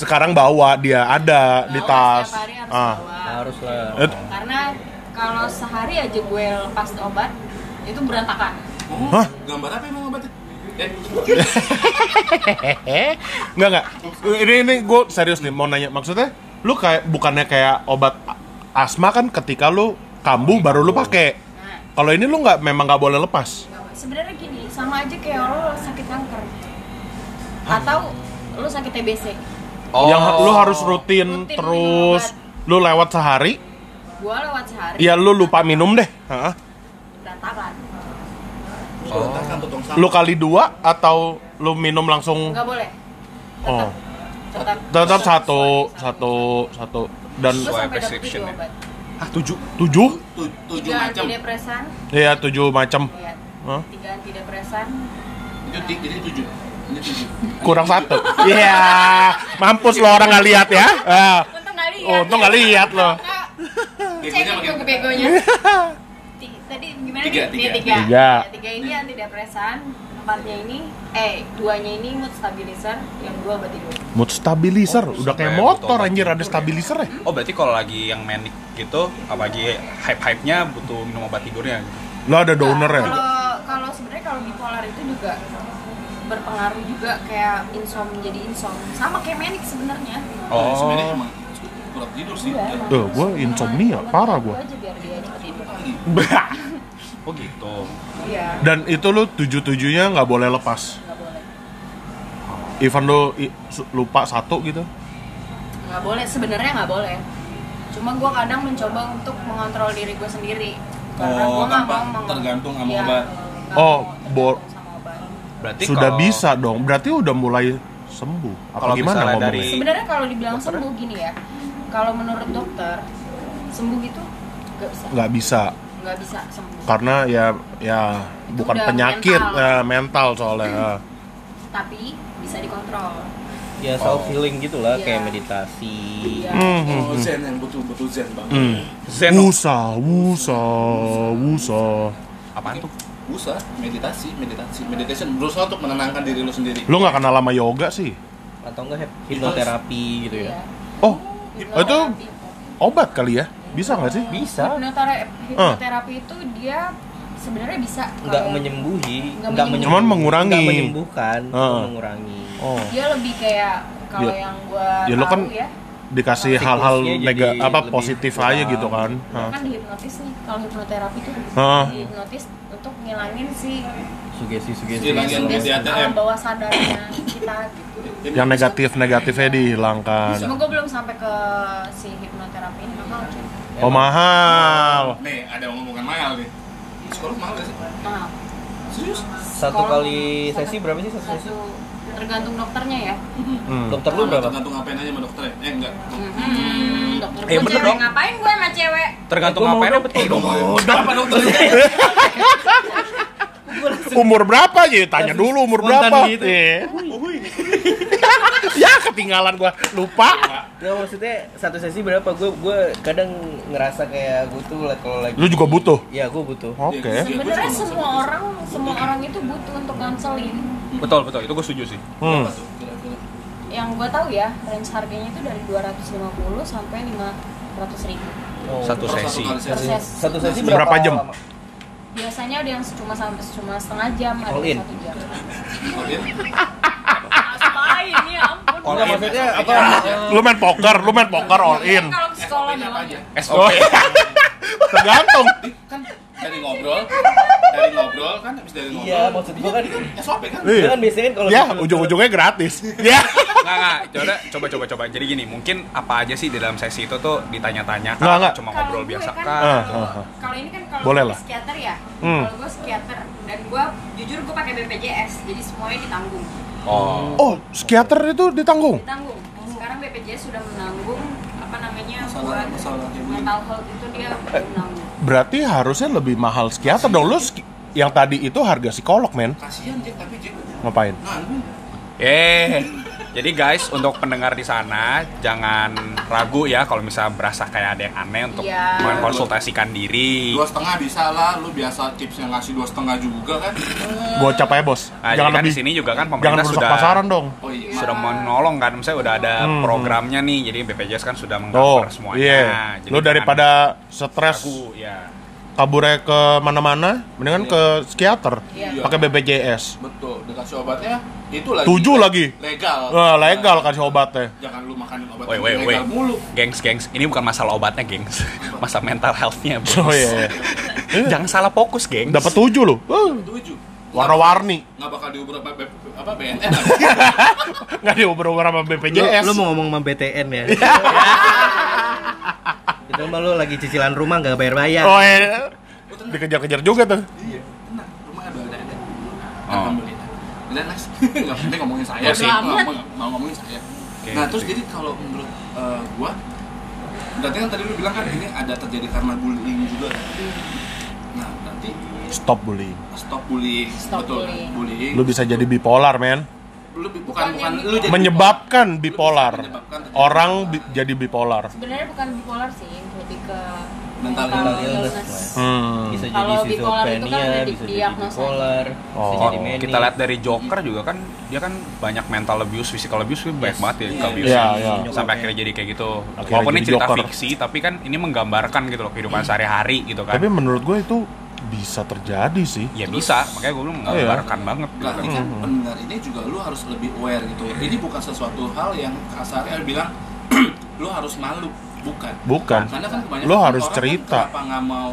S4: Sekarang bawa dia ada di
S5: Bawa,
S4: tas.
S5: setiap hari harus
S4: Ah.
S5: bawa.
S2: Harus lah.
S4: Eh,
S5: karena kalau sehari aja gue lepas obat itu berantakan
S3: Oh,
S4: Hah?
S3: gambar apa emang obatnya? Eh,
S5: Iya.
S4: Eh, enggak enggak. Ini ini gue serius nih mau nanya maksudnya lu kayak bukannya kayak obat a- asma kan ketika lu kambuh baru lu pakai.
S5: nah
S4: Kalau ini lu nggak memang nggak boleh lepas.
S5: sebenarnya gini sama aja kayak lo sakit kanker atau lo sakit TBC
S4: Yang lu harus Oh. rutin,
S5: Rutin
S4: terus lu lewat sehari,
S5: gue lewat sehari
S4: ya lu lupa minum deh. Heeh.
S5: berantakan
S3: lu letakkan tuh tong
S4: Lu kali dua atau lu minum langsung
S5: nggak boleh
S4: oh.
S5: tetap
S4: Tetap satu, satu, satu dan
S5: gue
S1: Sesuai
S5: sampai dapet
S1: prescription
S5: tujuh
S1: ya.
S5: obat
S1: Ah, tujuh.
S4: tujuh?
S3: tujuh
S5: tiga
S3: macam.
S5: antidepresan
S4: Iya, tujuh macam.
S5: ya,
S4: Hah?
S5: tiga antidepresan
S3: Itu di, jadi tujuh. Ini tujuh.
S4: Kurang satu. Iya. Mampus lo orang nggak lihat ya. Ah.
S5: untung nggak lihat
S4: Oh, untung nggak lihat lo.
S5: Nggak.
S3: Begonya
S5: Hmm. Cek
S3: makin-
S5: gue
S4: (laughs)
S5: begonya. Ti- Tadi gimana
S3: Tiga,
S5: nih? Dia
S3: tiga.
S5: tiga.
S4: Tiga.
S5: Ya, tiga ini antidepresan, empatnya ini eh duanya ini mood stabilizer yang dua obat tidur
S4: Mood stabilizer,
S1: Oh,
S4: udah kayak
S1: sampai
S4: motor
S1: otot.
S4: anjir ada stabilizer ya.
S1: Oh berarti kalau lagi yang manic gitu, apalagi hype-hype-nya butuh minum obat tidurnya gitu.
S4: Lo ada downer ya.
S5: kalau kalau sebenarnya kalau bipolar itu juga berpengaruh juga kayak insomnia jadi insomnia sama kayak manic sebenarnya
S3: Oh. Sebenarnya
S1: Oh,
S3: emang kurang tidur sih.
S5: Iya,
S3: Dan-
S5: emang.
S4: Duh, gua insomnia,
S5: Cuma
S4: parah
S5: itu
S4: gua. (laughs)
S5: aja biar dia cepet tidur
S1: oh gitu.
S5: iya
S4: Dan itu lo tujuh tujuhnya nggak boleh lepas.
S5: nggak boleh
S4: Even lo i- su- lupa satu gitu.
S5: nggak boleh sebenarnya nggak boleh cuma gue kadang mencoba untuk mengontrol diri gue sendiri karena
S3: Oh,
S5: gue nggak
S3: tanpa
S5: mau meng-
S3: tergantung sama
S5: Iya,
S3: obat.
S4: Oh,
S5: nggak mau tergantung
S4: bo-
S5: sama obat.
S1: Berarti
S4: Sudah
S1: kalau-
S4: bisa dong. Berarti udah mulai sembuh. Apa
S1: Kalau
S4: gimana
S1: misalnya
S4: ngomongnya?
S1: dari-
S5: sebenarnya kalau dibilang sembuh gini ya kalau menurut dokter sembuh itu nggak bisa
S4: Nggak bisa
S5: nggak bisa sembuh
S4: karena ya ya bukan
S5: Udah
S4: penyakit
S5: mental.
S4: eh, mental soalnya.
S5: tapi bisa dikontrol
S2: ya self healing gitulah
S5: Iya.
S2: kayak meditasi
S5: Iya.
S2: Hmm.
S3: Oh, zen yang betul-betul zen banget.
S4: Hmm.
S1: Zen.
S4: Wusa, wusa, wusa.
S1: Apaan tuh?
S3: Usah meditasi, meditasi, meditation berusaha untuk menenangkan diri lu sendiri.
S2: Hmm.
S4: Lo nggak kenal sama yoga sih?
S2: atau enggak hip- hipnoterapi gitu ya
S5: Iya.
S4: Oh,
S5: Hipnoterapi.
S4: itu- obat kali ya? Bisa nggak sih?
S2: bisa
S5: Hipnotera- hipnoterapi itu dia sebenarnya bisa
S2: nggak
S5: kalau-
S2: menyembuhi
S5: Nggak
S2: nggak
S5: menyembuhi.
S4: Cuman mengurangi.
S2: nggak menyembuhkan cuma
S4: Heeh.
S2: mengurangi
S4: Oh,
S5: dia lebih kayak kalau
S4: Iya.
S5: yang gua
S4: Ya,
S5: tahu
S4: lu kan
S5: ya
S4: dikasih
S2: Siklusnya
S4: hal-hal
S2: jadi
S4: nega apa
S2: lebih
S4: positif
S2: kurang.
S4: aja gitu kan? Hah.
S5: kan dihipnotis nih kalau hipnoterapi tuh
S4: Hah.
S5: dihipnotis untuk ngilangin si
S2: sugesti sugesti
S3: Iya, lagi yang
S5: sugesti
S3: di ATM.
S5: alam bawah sadarnya kita gitu
S3: Jadi
S4: Yang negatif-negatifnya dihilangkan.
S5: cuma gue belum sampai ke si hipnoterapi ini mahal cuy
S4: Oh mahal.
S3: Nih, ada omongan mahal nih. Sekolah mahal gak sih?
S5: mahal
S3: Serius?
S2: satu
S5: Sekolah-
S2: kali
S5: satu-
S2: sesi berapa sih satu sesi
S5: satu tergantung dokternya ya
S4: Hmm.
S2: dokter lu berapa
S3: Tergantung ngapain aja sama dokter ya? Eh, enggak.
S5: hmm, dokter
S4: Iya,
S1: Eh,
S5: gua
S1: bener
S5: cewek,
S1: dong.
S5: ngapain gue sama cewek
S1: Tergantung
S2: Eh, gua mau
S1: ngapain
S2: dapet
S1: Eh, dong.
S3: Apa dokter?
S4: Umur berapa aja? Tanya dulu umur
S2: Spontan
S4: berapa. (laughs)
S2: gitu.
S4: Iya. ya ketinggalan gua lupa.
S2: Nggak, maksudnya satu sesi berapa gue gue kadang ngerasa kayak gue tuh lah- kalau lagi
S4: Lu juga butuh?
S2: Iya gue butuh
S4: Oke.
S5: sebenarnya semua orang semua orang itu butuh untuk konseling
S1: Betul, betul. Itu gue setuju sih.
S4: Hmm.
S5: yang gue tahu ya range harganya itu dari 250 sampai 500 ribu
S2: Oh.
S1: Satu sesi.
S2: satu
S5: Proses.
S2: satu sesi berapa,
S4: Berapa jam?
S2: lama?
S5: biasanya ada yang cuma sampai cuma setengah jam ada
S2: All in.
S5: yang satu jam
S2: Eh,
S5: lain ya ampun
S2: Enggak,
S1: (laughs)
S2: maksudnya apa?
S3: kan Iya.
S4: Lu main poker, lu main poker all in.
S5: kalau ke sekolah
S3: apa
S5: doang
S3: aja?
S1: SOP.
S4: Tergantung.
S3: Kan dari ngobrol, dari ngobrol kan habis dari ngobrol.
S2: Iya, maksud gue kan
S3: SOP kan.
S2: gue
S4: Iya.
S2: kan biasanya kan kalau
S4: Ya,
S2: di-
S4: ujung-ujungnya gratis. Ya.
S1: Nggak, nggak. Coba, coba, coba, coba. Jadi gini, mungkin apa aja sih di dalam sesi itu tuh ditanya-tanya?
S4: Nggak, nggak.
S1: Cuma
S5: Kalau
S1: ngobrol
S5: gue
S1: biasa
S5: kan
S4: Ah,
S1: kan?
S5: kalau-
S4: ah, ah.
S5: kalau ini kan kalau
S4: Boleh
S5: gue
S4: lah.
S5: psikiater ya
S4: Hmm.
S5: kalau gue psikiater dan gue jujur gue pakai BPJS jadi semuanya ditanggung
S1: Oh.
S4: Oh, psikiater itu ditanggung.
S5: ditanggung sekarang BPJS sudah menanggung apa namanya
S3: Oh. Masalah-
S5: buat
S3: masalah Eh. kayak begini.
S5: mental health itu dia menanggung
S4: Berarti harusnya lebih mahal psikiater dong. Lu ski- yang tadi itu harga psikolog, men.
S3: Kasihan Jack tapi Jack
S4: Ngapain?
S3: nganggur.
S1: Eh, jadi guys, untuk pendengar di sana jangan ragu ya kalau misalnya berasa kayak ada yang aneh untuk
S5: Iya.
S1: mengkonsultasikan diri.
S3: Dua setengah bisa lah, lu biasa tips yang ngasih dua setengah juga kan?
S4: Gocap aja, Bos.
S1: Nah, jadi
S4: jangan
S1: kan
S4: lebih
S1: di sini juga kan
S4: jangan
S1: pemerintah
S4: merusak
S1: sudah
S4: pasaran dong.
S3: Oh iya.
S1: sudah menolong kan, misalnya udah ada
S4: Hmm.
S1: programnya nih, jadi BPJS kan sudah
S4: Oh,
S1: mengcover semuanya.
S4: iya.
S1: Jadi kan
S4: Lu
S1: jangan
S4: daripada stres
S1: ragu, ya.
S4: kaburnya ke mana-mana, mendingan ke psikiater.
S5: Iya.
S4: Pakai BPJS.
S3: Betul, dikasih obatnya itu lagi.
S4: Tujuh lagi.
S3: Legal.
S4: Wah, legal kasih obatnya. (laughs)
S3: Jangan lu makanin obat
S1: Woi,
S3: yang
S1: woi, woi.
S3: legal mulu.
S1: Gengs, gengs, ini bukan masalah obatnya, gengs. (laughs) Masalah mental health-nya, bos.
S4: Oh iya. iya.
S1: Jangan salah fokus, gengs.
S4: Dapat tujuh loh. Wuh.
S3: Tujuh.
S4: Warna-warni.
S3: Nggak bakal diubur apa, apa BNN.
S1: (laughs)
S4: Nggak diobrol sama
S2: Lu,
S4: BPJS.
S2: lu mau ngomong sama BTN
S1: (laughs)
S2: ya? itu mah lu lagi cicilan rumah nggak bayar-bayar.
S4: Oh, iya. Dikejar-kejar juga tuh.
S3: Iya, tenang. Rumah ada ada ada.
S1: Oh.
S3: Alhamdulillah. Udah next, (laughs) nggak penting ngomongin saya
S1: Oh,
S3: sih,
S1: sih.
S3: mau, ngomong- mau ngomongin saya.
S1: Oke,
S3: nah terus
S1: nanti.
S3: jadi kalau menurut eh, gua, berarti kan tadi lu bilang kan ini ada terjadi karena bullying juga. kan? Nah berarti
S4: Stop bullying.
S3: stop bullying,
S5: Stop
S3: betul kan?
S5: bullying.
S3: bullying.
S4: Lu bisa jadi bipolar, men.
S3: Lu bi- bukan bukan lu jadi
S4: Menyebabkan bipolar.
S3: Menyebabkan terjadi
S4: Orang bi- jadi bipolar.
S5: sebenarnya bukan bipolar sih lebih ke
S3: mental
S5: Mental
S3: health. ya,
S5: illness.
S4: Hmm.
S2: Bisa jadi
S5: Kalau bipolar itu kan
S2: schizophrenia,
S5: udah
S2: bisa jadi
S5: didiagnosa.
S2: bipolar, bisa
S4: Oh,
S1: Oh,
S2: jadi manic.
S1: kita lihat dari Joker juga kan dia kan banyak mental abuse, physical abuse banyak banget ya
S3: Iya.
S1: ke abuse
S4: Iya, iya.
S1: sampai akhirnya jadi kayak gitu.
S4: Akhirnya
S1: Walaupun ini
S4: jadi
S1: cerita
S4: Joker.
S1: fiksi tapi kan ini menggambarkan gitu loh kehidupan sehari-hari gitu kan.
S4: Tapi menurut gue itu bisa terjadi sih.
S1: ya bisa, makanya gue bilang
S4: Iya.
S1: menggambarkan banget gitu kan.
S3: Berarti kan
S4: Hmm.
S3: pendengar ini juga lu harus lebih aware gitu. Ini bukan sesuatu hal yang kasarnya bilang (clears throat) lu harus malu, bukan.
S4: Bukan.
S3: Karena kan kebanyakan
S4: Lo harus
S3: orang kan
S4: cerita.
S3: kenapa nggak mau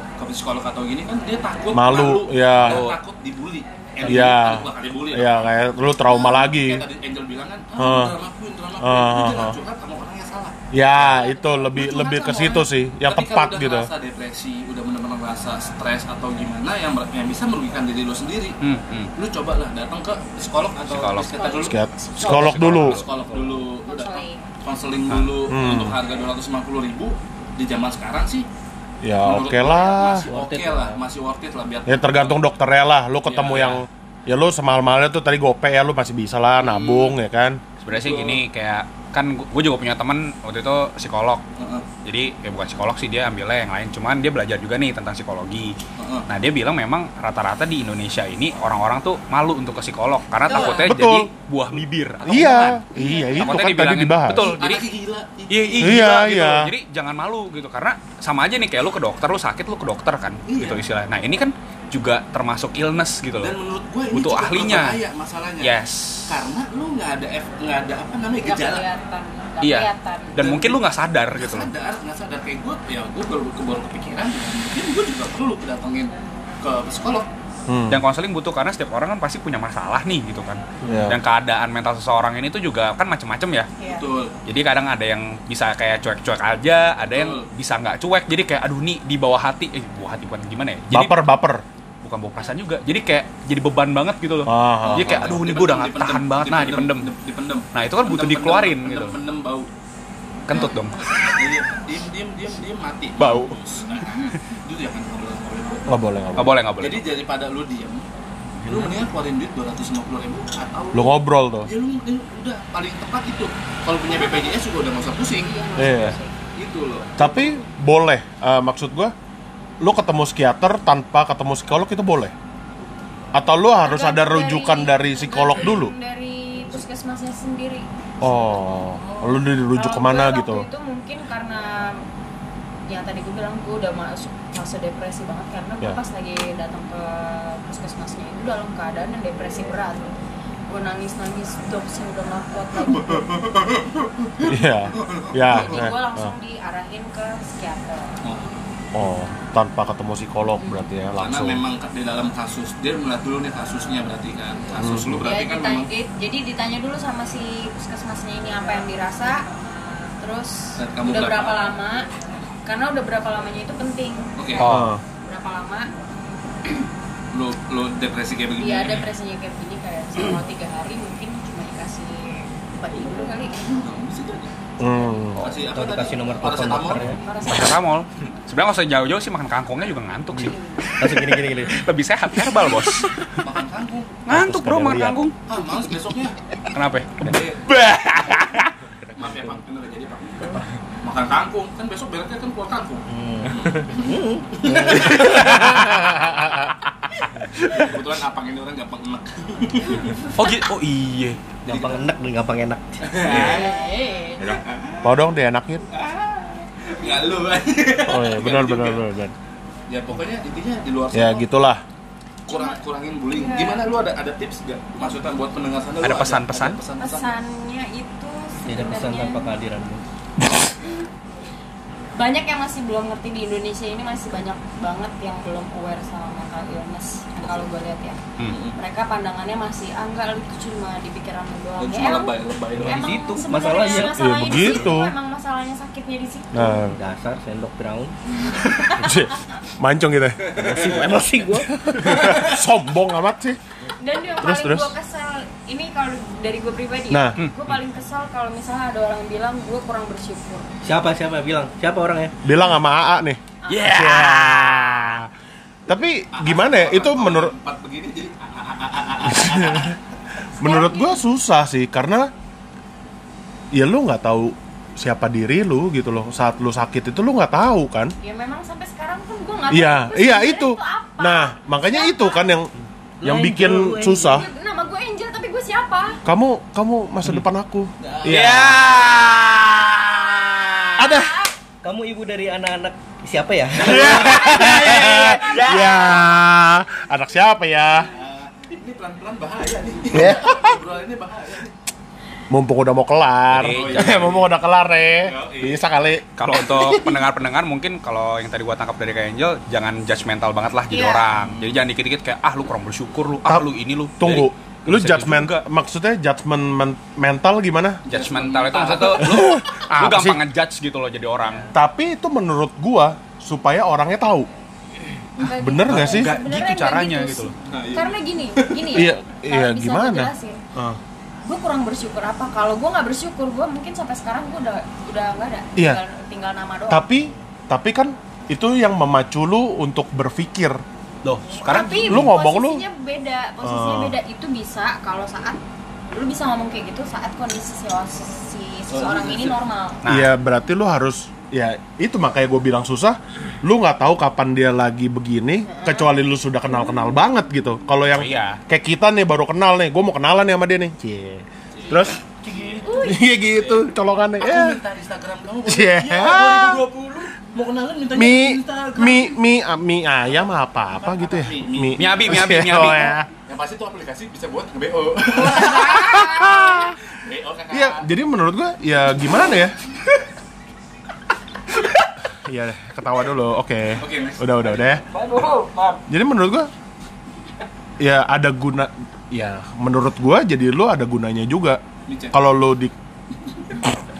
S3: ke psikolog atau gini kan dia takut
S4: Malu, ya.
S3: Dia takut dibully. Eh,
S4: Iya.
S3: kan dua kali bully
S4: Ya kayak lu trauma lagi.
S3: Iya, Kayak tadi Angel bilang kan, ah,
S4: Ah.
S3: drama queen, drama
S4: Ah,
S3: queen. Lu
S4: ah,
S3: jangan
S4: ah.
S3: curhat sama orang yang salah.
S4: Ya itu lebih
S3: Lu curhat
S4: lebih ke
S3: sama
S4: situ
S3: kan orang.
S4: sih, yang
S3: Tapi kalau
S4: tepat
S3: udah
S4: gitu.
S3: ngerasa depresi, udah benar-benar ngerasa stres atau gimana yang, mer- yang bisa merugikan diri lu sendiri.
S1: Hmm, hmm.
S3: Lu cobalah datang ke psikolog atau
S1: Psikolog.
S3: psikiater dulu.
S4: Psikiat- Psikolog dulu.
S3: Psikolog dulu, lu datang
S5: Konseling.
S3: konseling dulu
S4: Hmm.
S3: untuk harga 250 ribu di zaman sekarang sih
S4: Ya
S3: menurut
S4: oke
S3: gua
S4: lah.
S3: masih oke
S2: Worth it
S3: lah masih worth it lah biar
S4: Ya tergantung dokternya lah. Lu ketemu
S3: Iya.
S4: yang ya lu semahal-mahalnya tuh tadi gope ya lu masih bisa
S3: Hmm.
S4: lah nabung ya kan.
S1: Sebenarnya sih gini kayak kan gue juga punya teman waktu itu psikolog.
S3: Heeh,
S1: Jadi ya bukan psikolog sih dia ambilnya yang lain, cuman dia belajar juga nih tentang psikologi.
S3: heeh.
S1: Nah, dia bilang memang rata-rata di Indonesia ini orang-orang tuh malu untuk ke psikolog karena
S3: Iya.
S1: takutnya
S4: Betul.
S1: jadi buah bibir atau omongan.
S4: Iya, iya itu
S1: Takutnya
S4: kan tadi
S1: dibilangin,
S4: dibahas.
S1: Betul. Jadi
S3: Anaknya gila ih.
S1: Iya, iya,
S4: Iya,
S1: gila Nah, gitu.
S4: iya.
S1: Jadi jangan malu gitu karena sama aja nih kayak lu ke dokter lu sakit lu ke dokter kan
S3: Iya.
S1: gitu istilahnya. Nah, ini kan juga termasuk illness gitu
S3: dan
S1: loh.
S3: menurut gue ini
S1: Butuh
S3: juga
S1: ahlinya.
S3: berbahaya masalahnya
S1: Yes.
S3: karena lu nggak ada F, nggak ada apa namanya
S5: Nggak
S3: gejala
S5: kelihatan, nggak
S1: Iya.
S5: kelihatan.
S1: Dan mungkin lu nggak sadar
S3: nggak
S1: gitu loh.
S3: sadar nggak sadar kayak gue ya gue baru baru kepikiran ya mungkin gue juga perlu datengin ke psikolog
S4: Hmm.
S1: Dan konseling butuh karena setiap orang kan pasti punya masalah nih gitu kan.
S4: Iya.
S1: Dan keadaan mental seseorang ini tuh juga kan macem-macem ya.
S5: Iya.
S3: betul
S1: Jadi kadang ada yang bisa kayak cuek-cuek aja, ada yang
S3: Betul.
S1: bisa nggak cuek. Jadi kayak aduh nih di bawah hati, eh di bawah hati bukan gimana ya? Jadi
S4: Baper baper.
S1: bukan bawa perasaan juga. Jadi kayak jadi beban banget gitu loh.
S4: Ah, ah,
S1: Jadi kayak aduh nih gue udah nggak
S3: Dipendem,
S1: tahan banget. Nah
S3: dipendem,
S1: dipendem,
S3: dipendem
S1: Nah, itu kan butuh
S3: Pendem,
S1: dikeluarin
S3: pendem,
S1: gitu.
S3: pendem, pendem
S1: (laughs)
S3: bau
S1: kentut dong.
S3: Iya, diem diem diem diem mati
S4: Bau.
S3: Nah, (laughs) itu yang kan ngobrol ngobrol
S4: Nggak boleh nggak boleh.
S1: Nggak boleh nggak boleh.
S3: Jadi daripada lu diem, lu mendingan keluarin duit 250 ribu atau
S4: Lu ngobrol tuh.
S3: Ya lu, lu udah paling tepat itu. Kalau punya BPJS juga udah nggak usah pusing.
S4: Iya.
S3: Gitu loh.
S4: Tapi boleh Eh, maksud gua lu ketemu psikiater tanpa ketemu psikolog itu boleh. Atau lu harus ada
S5: Tergantung
S4: rujukan dari psikolog dulu.
S5: Dari puskesmasnya sendiri.
S4: Oh, lu dirujuk
S5: Kalau
S4: kemana
S5: gue
S4: gitu?
S5: waktu itu mungkin karena yang tadi gue bilang gue udah masuk fase depresi banget karena gue
S4: Ya.
S5: pas lagi datang ke puskesmasnya itu dalam keadaan yang depresi berat gue nangis nangis dok saya udah nggak kuat
S3: (laughs)
S5: lagi
S4: (laughs) Iya, ya.
S5: jadi
S4: eh,
S5: gue langsung
S4: eh.
S5: diarahin ke psikiater
S4: Oh, tanpa ketemu psikolog berarti ya
S3: Karena
S4: langsung.
S3: memang ke- di dalam kasus dia melihat dulu nih kasusnya berarti kan. Kasus
S4: Hmm.
S3: lu berarti
S5: Ya,
S3: kan
S5: ditanya-
S3: memang
S5: di- jadi ditanya dulu sama si puskesmasnya ini apa yang dirasa terus
S3: Dan kamu
S5: udah
S3: berapa
S5: berapa
S3: lama?
S5: lama karena udah berapa lamanya itu penting
S3: Oke.
S5: Kayak
S4: Oh,
S5: berapa lama
S3: lu lu depresi kayak begini. ya.
S5: Iya ada presenya kayak gini kayak selama tiga hari mungkin cuma dikasih obat tidur kali.
S3: Nah, di situ aja.
S4: hmm.
S3: Kasih apa
S2: Atau
S3: tadi?
S2: dikasih nomor telepon
S3: Paracetamol.
S2: dokternya.
S1: Paracetamol. Sebenarnya nggak usah jauh-jauh sih makan kangkongnya juga ngantuk sih.
S2: (laughs) Langsung gini gini
S1: (laughs)
S2: gini.
S1: Lebih sehat herbal bos.
S3: Makan kangkung.
S1: (laughs) Ngantuk bro makan
S4: Lihat.
S1: kangkung.
S3: Ah, males
S4: (laughs)
S3: besoknya.
S1: Kenapa? ya?
S3: Eh, Maaf ya Pak, bener jadi Pak. Makan kangkung, kan besok beratnya kan keluar kangkung.
S4: Hmm.
S3: (laughs) Kebetulan apang ini orang gampang enak.
S1: Oh gitu. Oh iya.
S2: Gampang enak dan gampang enak.
S3: Iya.
S4: Iya.
S5: Eh,
S4: Mau dong dienakin.
S3: Enggak lu.
S4: Oh iya, benar benar benar. benar.
S3: Ya pokoknya intinya di luar
S4: Ya
S3: sana,
S4: gitulah.
S3: kurang kurangin bullying. Gimana lu ada ada tips gak? Maksudnya buat pendengar sana lu
S1: Ada pesan-pesan?
S3: ada pesan-pesan?
S5: Pesannya itu
S2: Tidak pesan tanpa
S5: sebenarnya
S2: kehadiranmu.
S5: banyak yang masih belum ngerti di Indonesia ini masih banyak banget yang belum aware sama mental illness yang kalau gue lihat ya.
S1: Hmm.
S5: Mereka pandangannya masih ah enggak itu cuma di pikiranmu doang.
S3: Dan cuma
S5: Ya, emang-
S3: lebay lebay doang.
S5: emang
S2: Di situ
S5: sebenarnya
S2: masalahnya. Ya,
S5: masalahnya di
S4: begitu.
S5: situ, emang masalahnya sakitnya di situ.
S1: Eh.
S4: Nah,
S2: Dasar sendok brown.
S4: (laughs) mancung gitu. ya.
S2: Emosi emosi gue.
S4: (laughs) Sombong amat sih.
S5: dan yang
S4: Terus,
S5: paling
S4: terus.
S5: gue kesel ini kalau dari gue pribadi
S4: Nah.
S5: ya, gue
S1: Hmm.
S5: paling kesel kalau misalnya ada orang bilang gue kurang bersyukur
S2: Siapa siapa bilang? Siapa ya? orangnya?
S4: Bilang sama AA nih.
S1: Yeah.
S4: Tapi gimana ya? Itu menurut
S3: empat begini jadi "Ah,
S4: menurut gua susah sih karena ya lu nggak tahu siapa diri lu gitu loh saat lu sakit itu lu nggak tahu kan
S5: ya memang sampai sekarang pun gue nggak tahu
S4: iya
S5: gua
S4: iya
S5: sebenarnya
S4: itu
S5: apa.
S4: nah makanya itu kan yang yang
S2: Angel,
S4: bikin
S2: lu angel.
S4: susah
S5: Gua- nama gue Angel tapi gue siapa
S4: kamu kamu masa depan aku
S1: Hmm. Iya.
S4: ada
S2: Kamu ibu dari anak-anak siapa
S1: (laughs)
S2: ya?
S4: ya anak siapa ya
S3: ini pelan-pelan bahaya nih.
S1: Iya.
S4: Ya.
S3: Obrolan ini bahaya. nih.
S4: mumpung udah mau kelar Eh,
S1: Iya,
S4: mumpung udah kelar ya
S3: Iya.
S4: bisa kali
S1: Kalau untuk pendengar-pendengar mungkin kalau yang tadi gua tangkap dari Kak Angel jangan judgmental banget lah jadi
S5: Iya.
S1: orang. Jadi jangan dikit-dikit kayak ah lu kurang bersyukur lu, ah
S4: Tap-
S1: lu ini lu.
S4: tunggu
S1: Jadi,
S4: lu
S1: bisa
S4: judgment
S1: gitu juga.
S4: maksudnya judgment men- mental gimana
S1: Judgmental itu
S4: (laughs)
S1: maksudnya tuh, lu, lu
S4: Apa
S1: gampang
S4: sih?
S1: ngejudge gitu loh jadi orang.
S4: tapi itu menurut gua supaya orangnya tahu Ah,
S5: Enggak
S4: bener
S5: gitu.
S4: nggak sih?
S1: Nggak
S5: Sebenarnya
S1: gitu
S5: nggak
S1: caranya
S5: sih.
S1: gitu loh.
S3: Nah, iya.
S5: karena
S4: (laughs)
S5: gini gini ya
S4: Iya,
S5: kalau
S4: iya,
S5: bisa
S4: gimana?
S5: gua jelasin.
S4: Ah.
S5: gue kurang bersyukur apa kalau gue nggak bersyukur gue mungkin sampai sekarang gue udah udah nggak ada
S4: Iya.
S5: tinggal, tinggal nama doang
S4: tapi tapi kan itu yang memacu lu untuk berpikir
S1: Loh, sekarang
S5: tapi
S4: lu ngomong lu-
S5: posisinya beda posisinya
S4: Ah.
S5: beda itu bisa kalau saat lu bisa ngomong kayak gitu saat kondisi si, si
S4: Oh,
S5: seseorang ini normal
S1: Nah.
S4: Iya berarti lu harus ya itu makanya gue bilang susah. Lu nggak tahu kapan dia lagi begini, kecuali lu sudah kenal kenal banget gitu. Kalau yang
S1: Oh, iya.
S4: kayak kita nih baru kenal nih, gue mau kenalan nih sama dia nih. Cie. Terus (laughs) Iya gitu, colongannya.
S3: Aku
S4: Ya.
S3: minta Instagram kamu.
S4: Iya.
S3: Iya. 2020 mau kenalan mintanya
S4: Mi,
S3: Instagram.
S4: mi, mi, a- mi ayam apa apa gitu ya?
S3: Mi,
S4: Mi,
S1: Mi abi, mi abi, mi
S4: (laughs) Oh,
S1: abi.
S4: ya.
S3: Yang pasti tuh aplikasi bisa buat (laughs) nge-BO. BO kakak.
S4: Iya, jadi menurut gue ya gimana ya? (laughs) Iya, deh, ketawa dulu. Oke.
S3: Oke, next.
S4: Udah, udah, udah ya. Jadi menurut gua ya ada guna ya menurut gua jadi lu ada gunanya juga.
S3: Dicek.
S4: Kalau lu di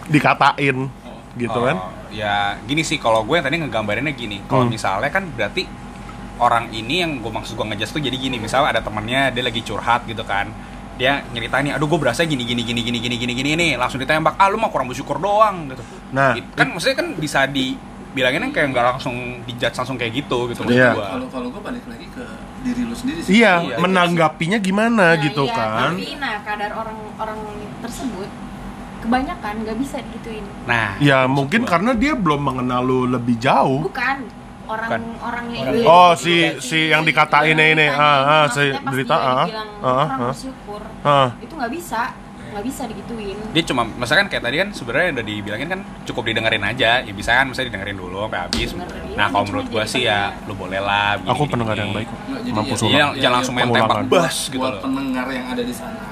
S4: dikatain gitu kan.
S1: Oh, ya gini sih kalau gue yang tadi ngegambarinnya gini. Kalau
S4: Hmm.
S1: misalnya kan berarti orang ini yang gue maksud gue ngejudge tuh jadi gini. Misalnya ada temannya dia lagi curhat gitu kan. Dia nyerita nih, aduh gue berasa gini gini gini gini gini gini gini nih. Langsung ditembak, ah lu mah kurang bersyukur doang gitu.
S4: Nah,
S1: It- kan maksudnya kan bisa dibilanginnya kayak nggak langsung dijudge langsung kayak gitu gitu maksud
S4: Iya.
S1: gue.
S3: Kalau kalau gue balik lagi ke diri lu sendiri sih.
S4: Iya,
S1: Iya,
S4: menanggapinya gimana gitu
S5: iya,
S4: kan.
S5: tapi nah kadar orang orang tersebut kebanyakan nggak bisa digituin
S1: Nah,
S4: Ya
S1: maksud
S4: mungkin
S1: gua.
S4: karena dia belum mengenal lu lebih jauh.
S5: bukan orang
S1: Bukan.
S5: orangnya
S2: Orang-
S5: ini.
S4: Oh, si- si yang dikatain
S5: Yang
S4: ini,
S5: ditanya
S4: ah,
S5: ini,
S4: ah,
S5: maksudnya
S4: si
S5: pas
S4: berita,
S5: dia
S4: ah,
S5: dibilang
S4: ah,
S5: kurang
S4: ah.
S5: bersyukur
S4: Ah.
S5: itu nggak bisa nggak bisa digituin
S1: dia cuma misalkan kayak tadi kan sebenarnya udah dibilangin kan cukup didengerin aja ya bisa kan misalnya didengerin dulu sampai habis
S5: Dengerin,
S1: nah kalau
S5: cuma
S1: menurut gua
S5: jadi
S1: sih ya lu boleh lah begini,
S4: Aku
S1: gini,
S4: pendengar
S1: gini.
S4: yang baik.
S3: Nggak, jadi
S4: Mampus
S3: ya-
S4: lu.
S1: Iya,
S3: ya-
S1: jangan
S3: ya-
S1: langsung main
S4: pengulangan.
S1: tembak bas gitu
S3: buat
S1: loh
S3: pendengar yang ada di sana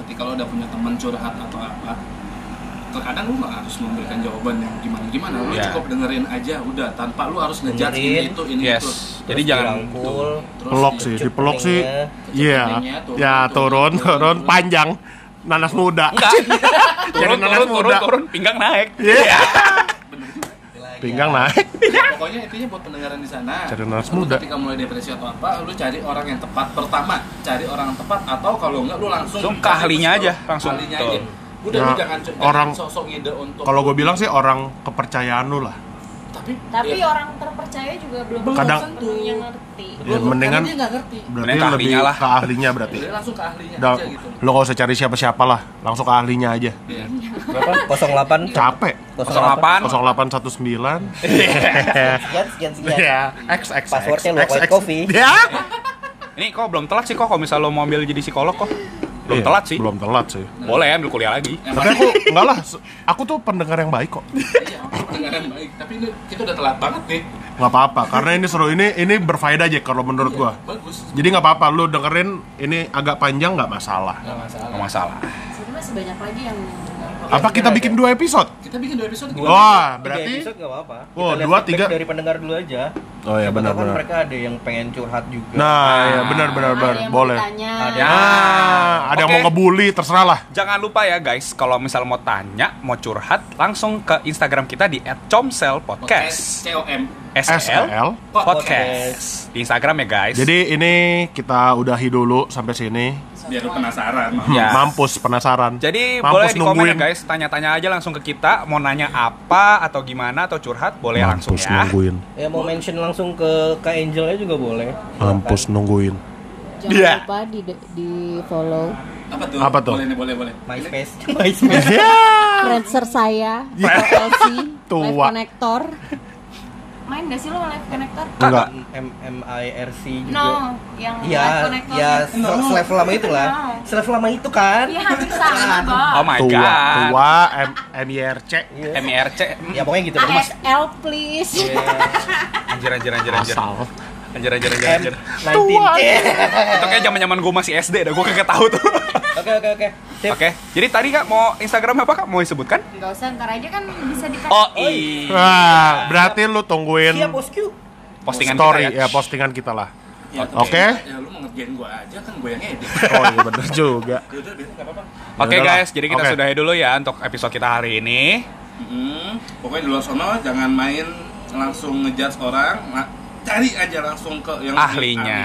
S3: ketika lo udah punya teman curhat atau apa terkadang lo nggak harus memberikan jawaban yang gimana gimana lo
S1: Iya.
S3: cukup dengerin aja udah tanpa lo harus ngejudge ini
S2: Dengerin.
S3: itu ini
S1: yes
S3: itu
S1: jadi jangan
S2: dirangkul.
S3: terus ya,
S4: Pelok
S3: di- (laughs)
S4: sih,
S2: cukup
S4: dipelok sih.
S2: peningnya,
S4: Iya.
S3: peningnya, turun,
S4: Ya,
S3: turun,
S4: turun, (laughs) turun
S3: turun.
S4: panjang. Nanas muda.
S1: turun
S4: nanas
S1: turun turun
S4: muda.
S1: turun pinggang naik
S4: Iya.
S3: bener juga
S4: Pinggang naik.
S3: ya, pokoknya intinya buat pendengaran di sana
S4: Cari nanas
S3: Lu
S4: muda.
S3: ketika mulai depresi atau apa lo cari orang yang tepat pertama cari orang yang tepat atau kalau enggak lo langsung
S1: Langsung ke ahlinya aja, langsung.
S3: ahlinya
S1: Betul. Ya,
S3: aja udah
S4: Nah,
S3: lu jangan, jangan
S4: orang-
S3: sosok ngide untuk
S4: Kalau gue bilang sih orang kepercayaan lu lah.
S3: tapi
S5: tapi
S3: ya,
S5: orang terpercaya juga belum
S3: Belum
S4: iya. Kadang-
S5: tentu yang ngerti
S4: Ya, mendingan
S3: karena dia nggak ngerti
S4: berarti
S1: Mending ke
S4: lebih
S1: ahlinya lah.
S4: ke ahlinya berarti.
S3: Jadi langsung ke ahlinya
S4: Udah,
S3: aja gitu.
S4: lo gak usah cari siapa-siapa lah, langsung ke ahlinya aja.
S3: Iya.
S2: Berapa? 08
S4: Capek.
S1: 08
S4: 0819.
S2: Sekian
S4: (laughs)
S2: sekian
S1: Iya.
S2: sekian.
S4: Ya, X X
S2: Passwordnya lo white coffee.
S4: Ya.
S1: ini kok belum telat sih kok kalau misal lo mau ambil jadi psikolog kok belum
S4: Iya,
S1: telat sih
S4: Belum telat sih.
S1: boleh ya ambil kuliah lagi
S3: Yang
S4: Tapi
S3: pasti
S4: aku enggak lah, se- aku tuh pendengar yang baik kok.
S3: iya, pendengaran baik. Tapi ini kita udah telat banget nih.
S4: Nggak apa-apa, karena ini seru ini ini berfaedah aja kalau menurut gua.
S3: Bagus.
S4: Jadi nggak apa-apa, lu dengerin ini agak panjang nggak masalah.
S3: Gak masalah.
S1: nggak masalah
S5: sebenarnya masih banyak lagi yang
S4: Apa kita bikin dua episode?
S3: Kita bikin dua episode.
S2: Dua.
S4: Wah,
S2: Tiga
S4: Ah, berarti
S2: episode nggak apa-apa. Kita
S4: Wah,
S2: lihat
S4: dua,
S2: feedback
S4: tiga.
S2: dari pendengar dulu aja.
S4: Oh iya,
S2: Siapa tahu
S4: benar,
S2: kan
S4: benar.
S2: mereka ada yang pengen curhat juga.
S1: Ah.
S4: Nah, ya benar benar
S5: Ada
S4: benar.
S5: yang
S4: Boleh.
S5: bertanya.
S2: Ada.
S4: Ah, ada yang mau
S1: Oke.
S4: ngebully terserah lah.
S1: Jangan lupa ya guys, kalau misal mau tanya, mau curhat, langsung ke Instagram kita di @comselpodcast.
S3: COM.
S1: SL
S4: SL
S1: podcast di Instagram ya guys.
S4: Jadi ini kita udahi dulu sampai sini.
S3: Biar lu penasaran.
S1: Ya.
S4: Mampus penasaran.
S1: Jadi
S4: Mampus
S1: boleh di komen ya
S4: nungguin.
S1: guys, tanya-tanya aja langsung ke kita, mau nanya apa atau gimana atau curhat boleh langsung
S4: Mampus
S1: ya.
S4: nungguin.
S2: Ya mau mention langsung ke Kak Angel juga boleh.
S4: Mampus
S1: (laughs)
S4: nungguin.
S5: jangan
S1: Iya.
S5: lupa di di follow
S3: Apa tuh?
S4: Apa tuh?
S3: Boleh nih, boleh, boleh.
S2: (laughs) MySpace. MySpace.
S4: Ya.
S6: influencer saya,
S4: Ya.
S6: LC,
S4: Tua.
S6: live connector.
S5: main gak sih lo live connector
S4: Enggak.
S2: M M I R C juga.
S5: no yang live
S2: Ya,
S5: connector
S2: ya
S5: yang-
S2: se- selevel lama itu lah.
S5: No.
S2: Selevel lama itu kan.
S5: Iya, hampir sama Bang.
S1: Oh my
S4: Tua,
S1: god.
S4: tua, M MIRC.
S2: Iya.
S1: MIRC.
S2: Ya pokoknya gitu deh. Mas.
S6: ASL please.
S2: Iya.
S1: Anjir anjir anjir anjir.
S4: Asal.
S1: Anjir anjir anjir
S2: M
S1: anjir.
S2: 19. Iya.
S1: Itu kayak zaman-zaman gue masih SD dah, gue kagak tahu tuh.
S2: (laughs) Oke oke oke. Sip.
S1: Oke. Jadi tadi Kak mau Instagram apa Kak? Mau disebutkan?
S5: nggak usah ntar aja kan bisa di
S1: Oh,
S5: oh,
S1: iya.
S4: Wah, berarti lu tungguin
S2: Siap bosku.
S1: Postingan
S4: story
S1: kita ya.
S4: ya postingan kita lah.
S3: Ya, tapi
S4: Oke.
S3: Ya lu mau ngerjain gua aja kan gua yang edit.
S4: (laughs) Oh iya bener juga.
S3: Ya udah biar enggak apa-apa.
S1: Oke
S4: Ya udahlah.
S1: guys, jadi kita
S4: Oke.
S1: sudahi dulu ya untuk episode kita hari ini.
S3: Mm-mm. Hmm, pokoknya di luar sana jangan main langsung ngejudge orang, ma- cari aja langsung ke yang
S1: Ahlinya.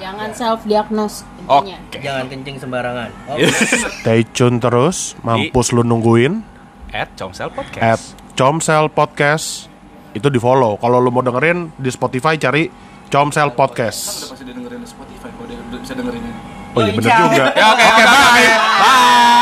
S6: Jangan self diagnose
S1: Oke.
S6: intinya.
S2: Jangan kencing sembarangan. Oh,
S4: (laughs) Stay tune terus, mampus lu nungguin
S1: At Comsel Podcast.
S4: at Comsel Podcast itu di follow. Kalau lu mau dengerin di Spotify cari Comsel
S3: Kan udah
S4: Podcast. iya,
S2: Iya.
S4: (laughs)
S3: pasti didengerin di Spotify kalau dia udah bisa dengerin
S4: Oh iya bener juga.
S1: Ya oke oke bye.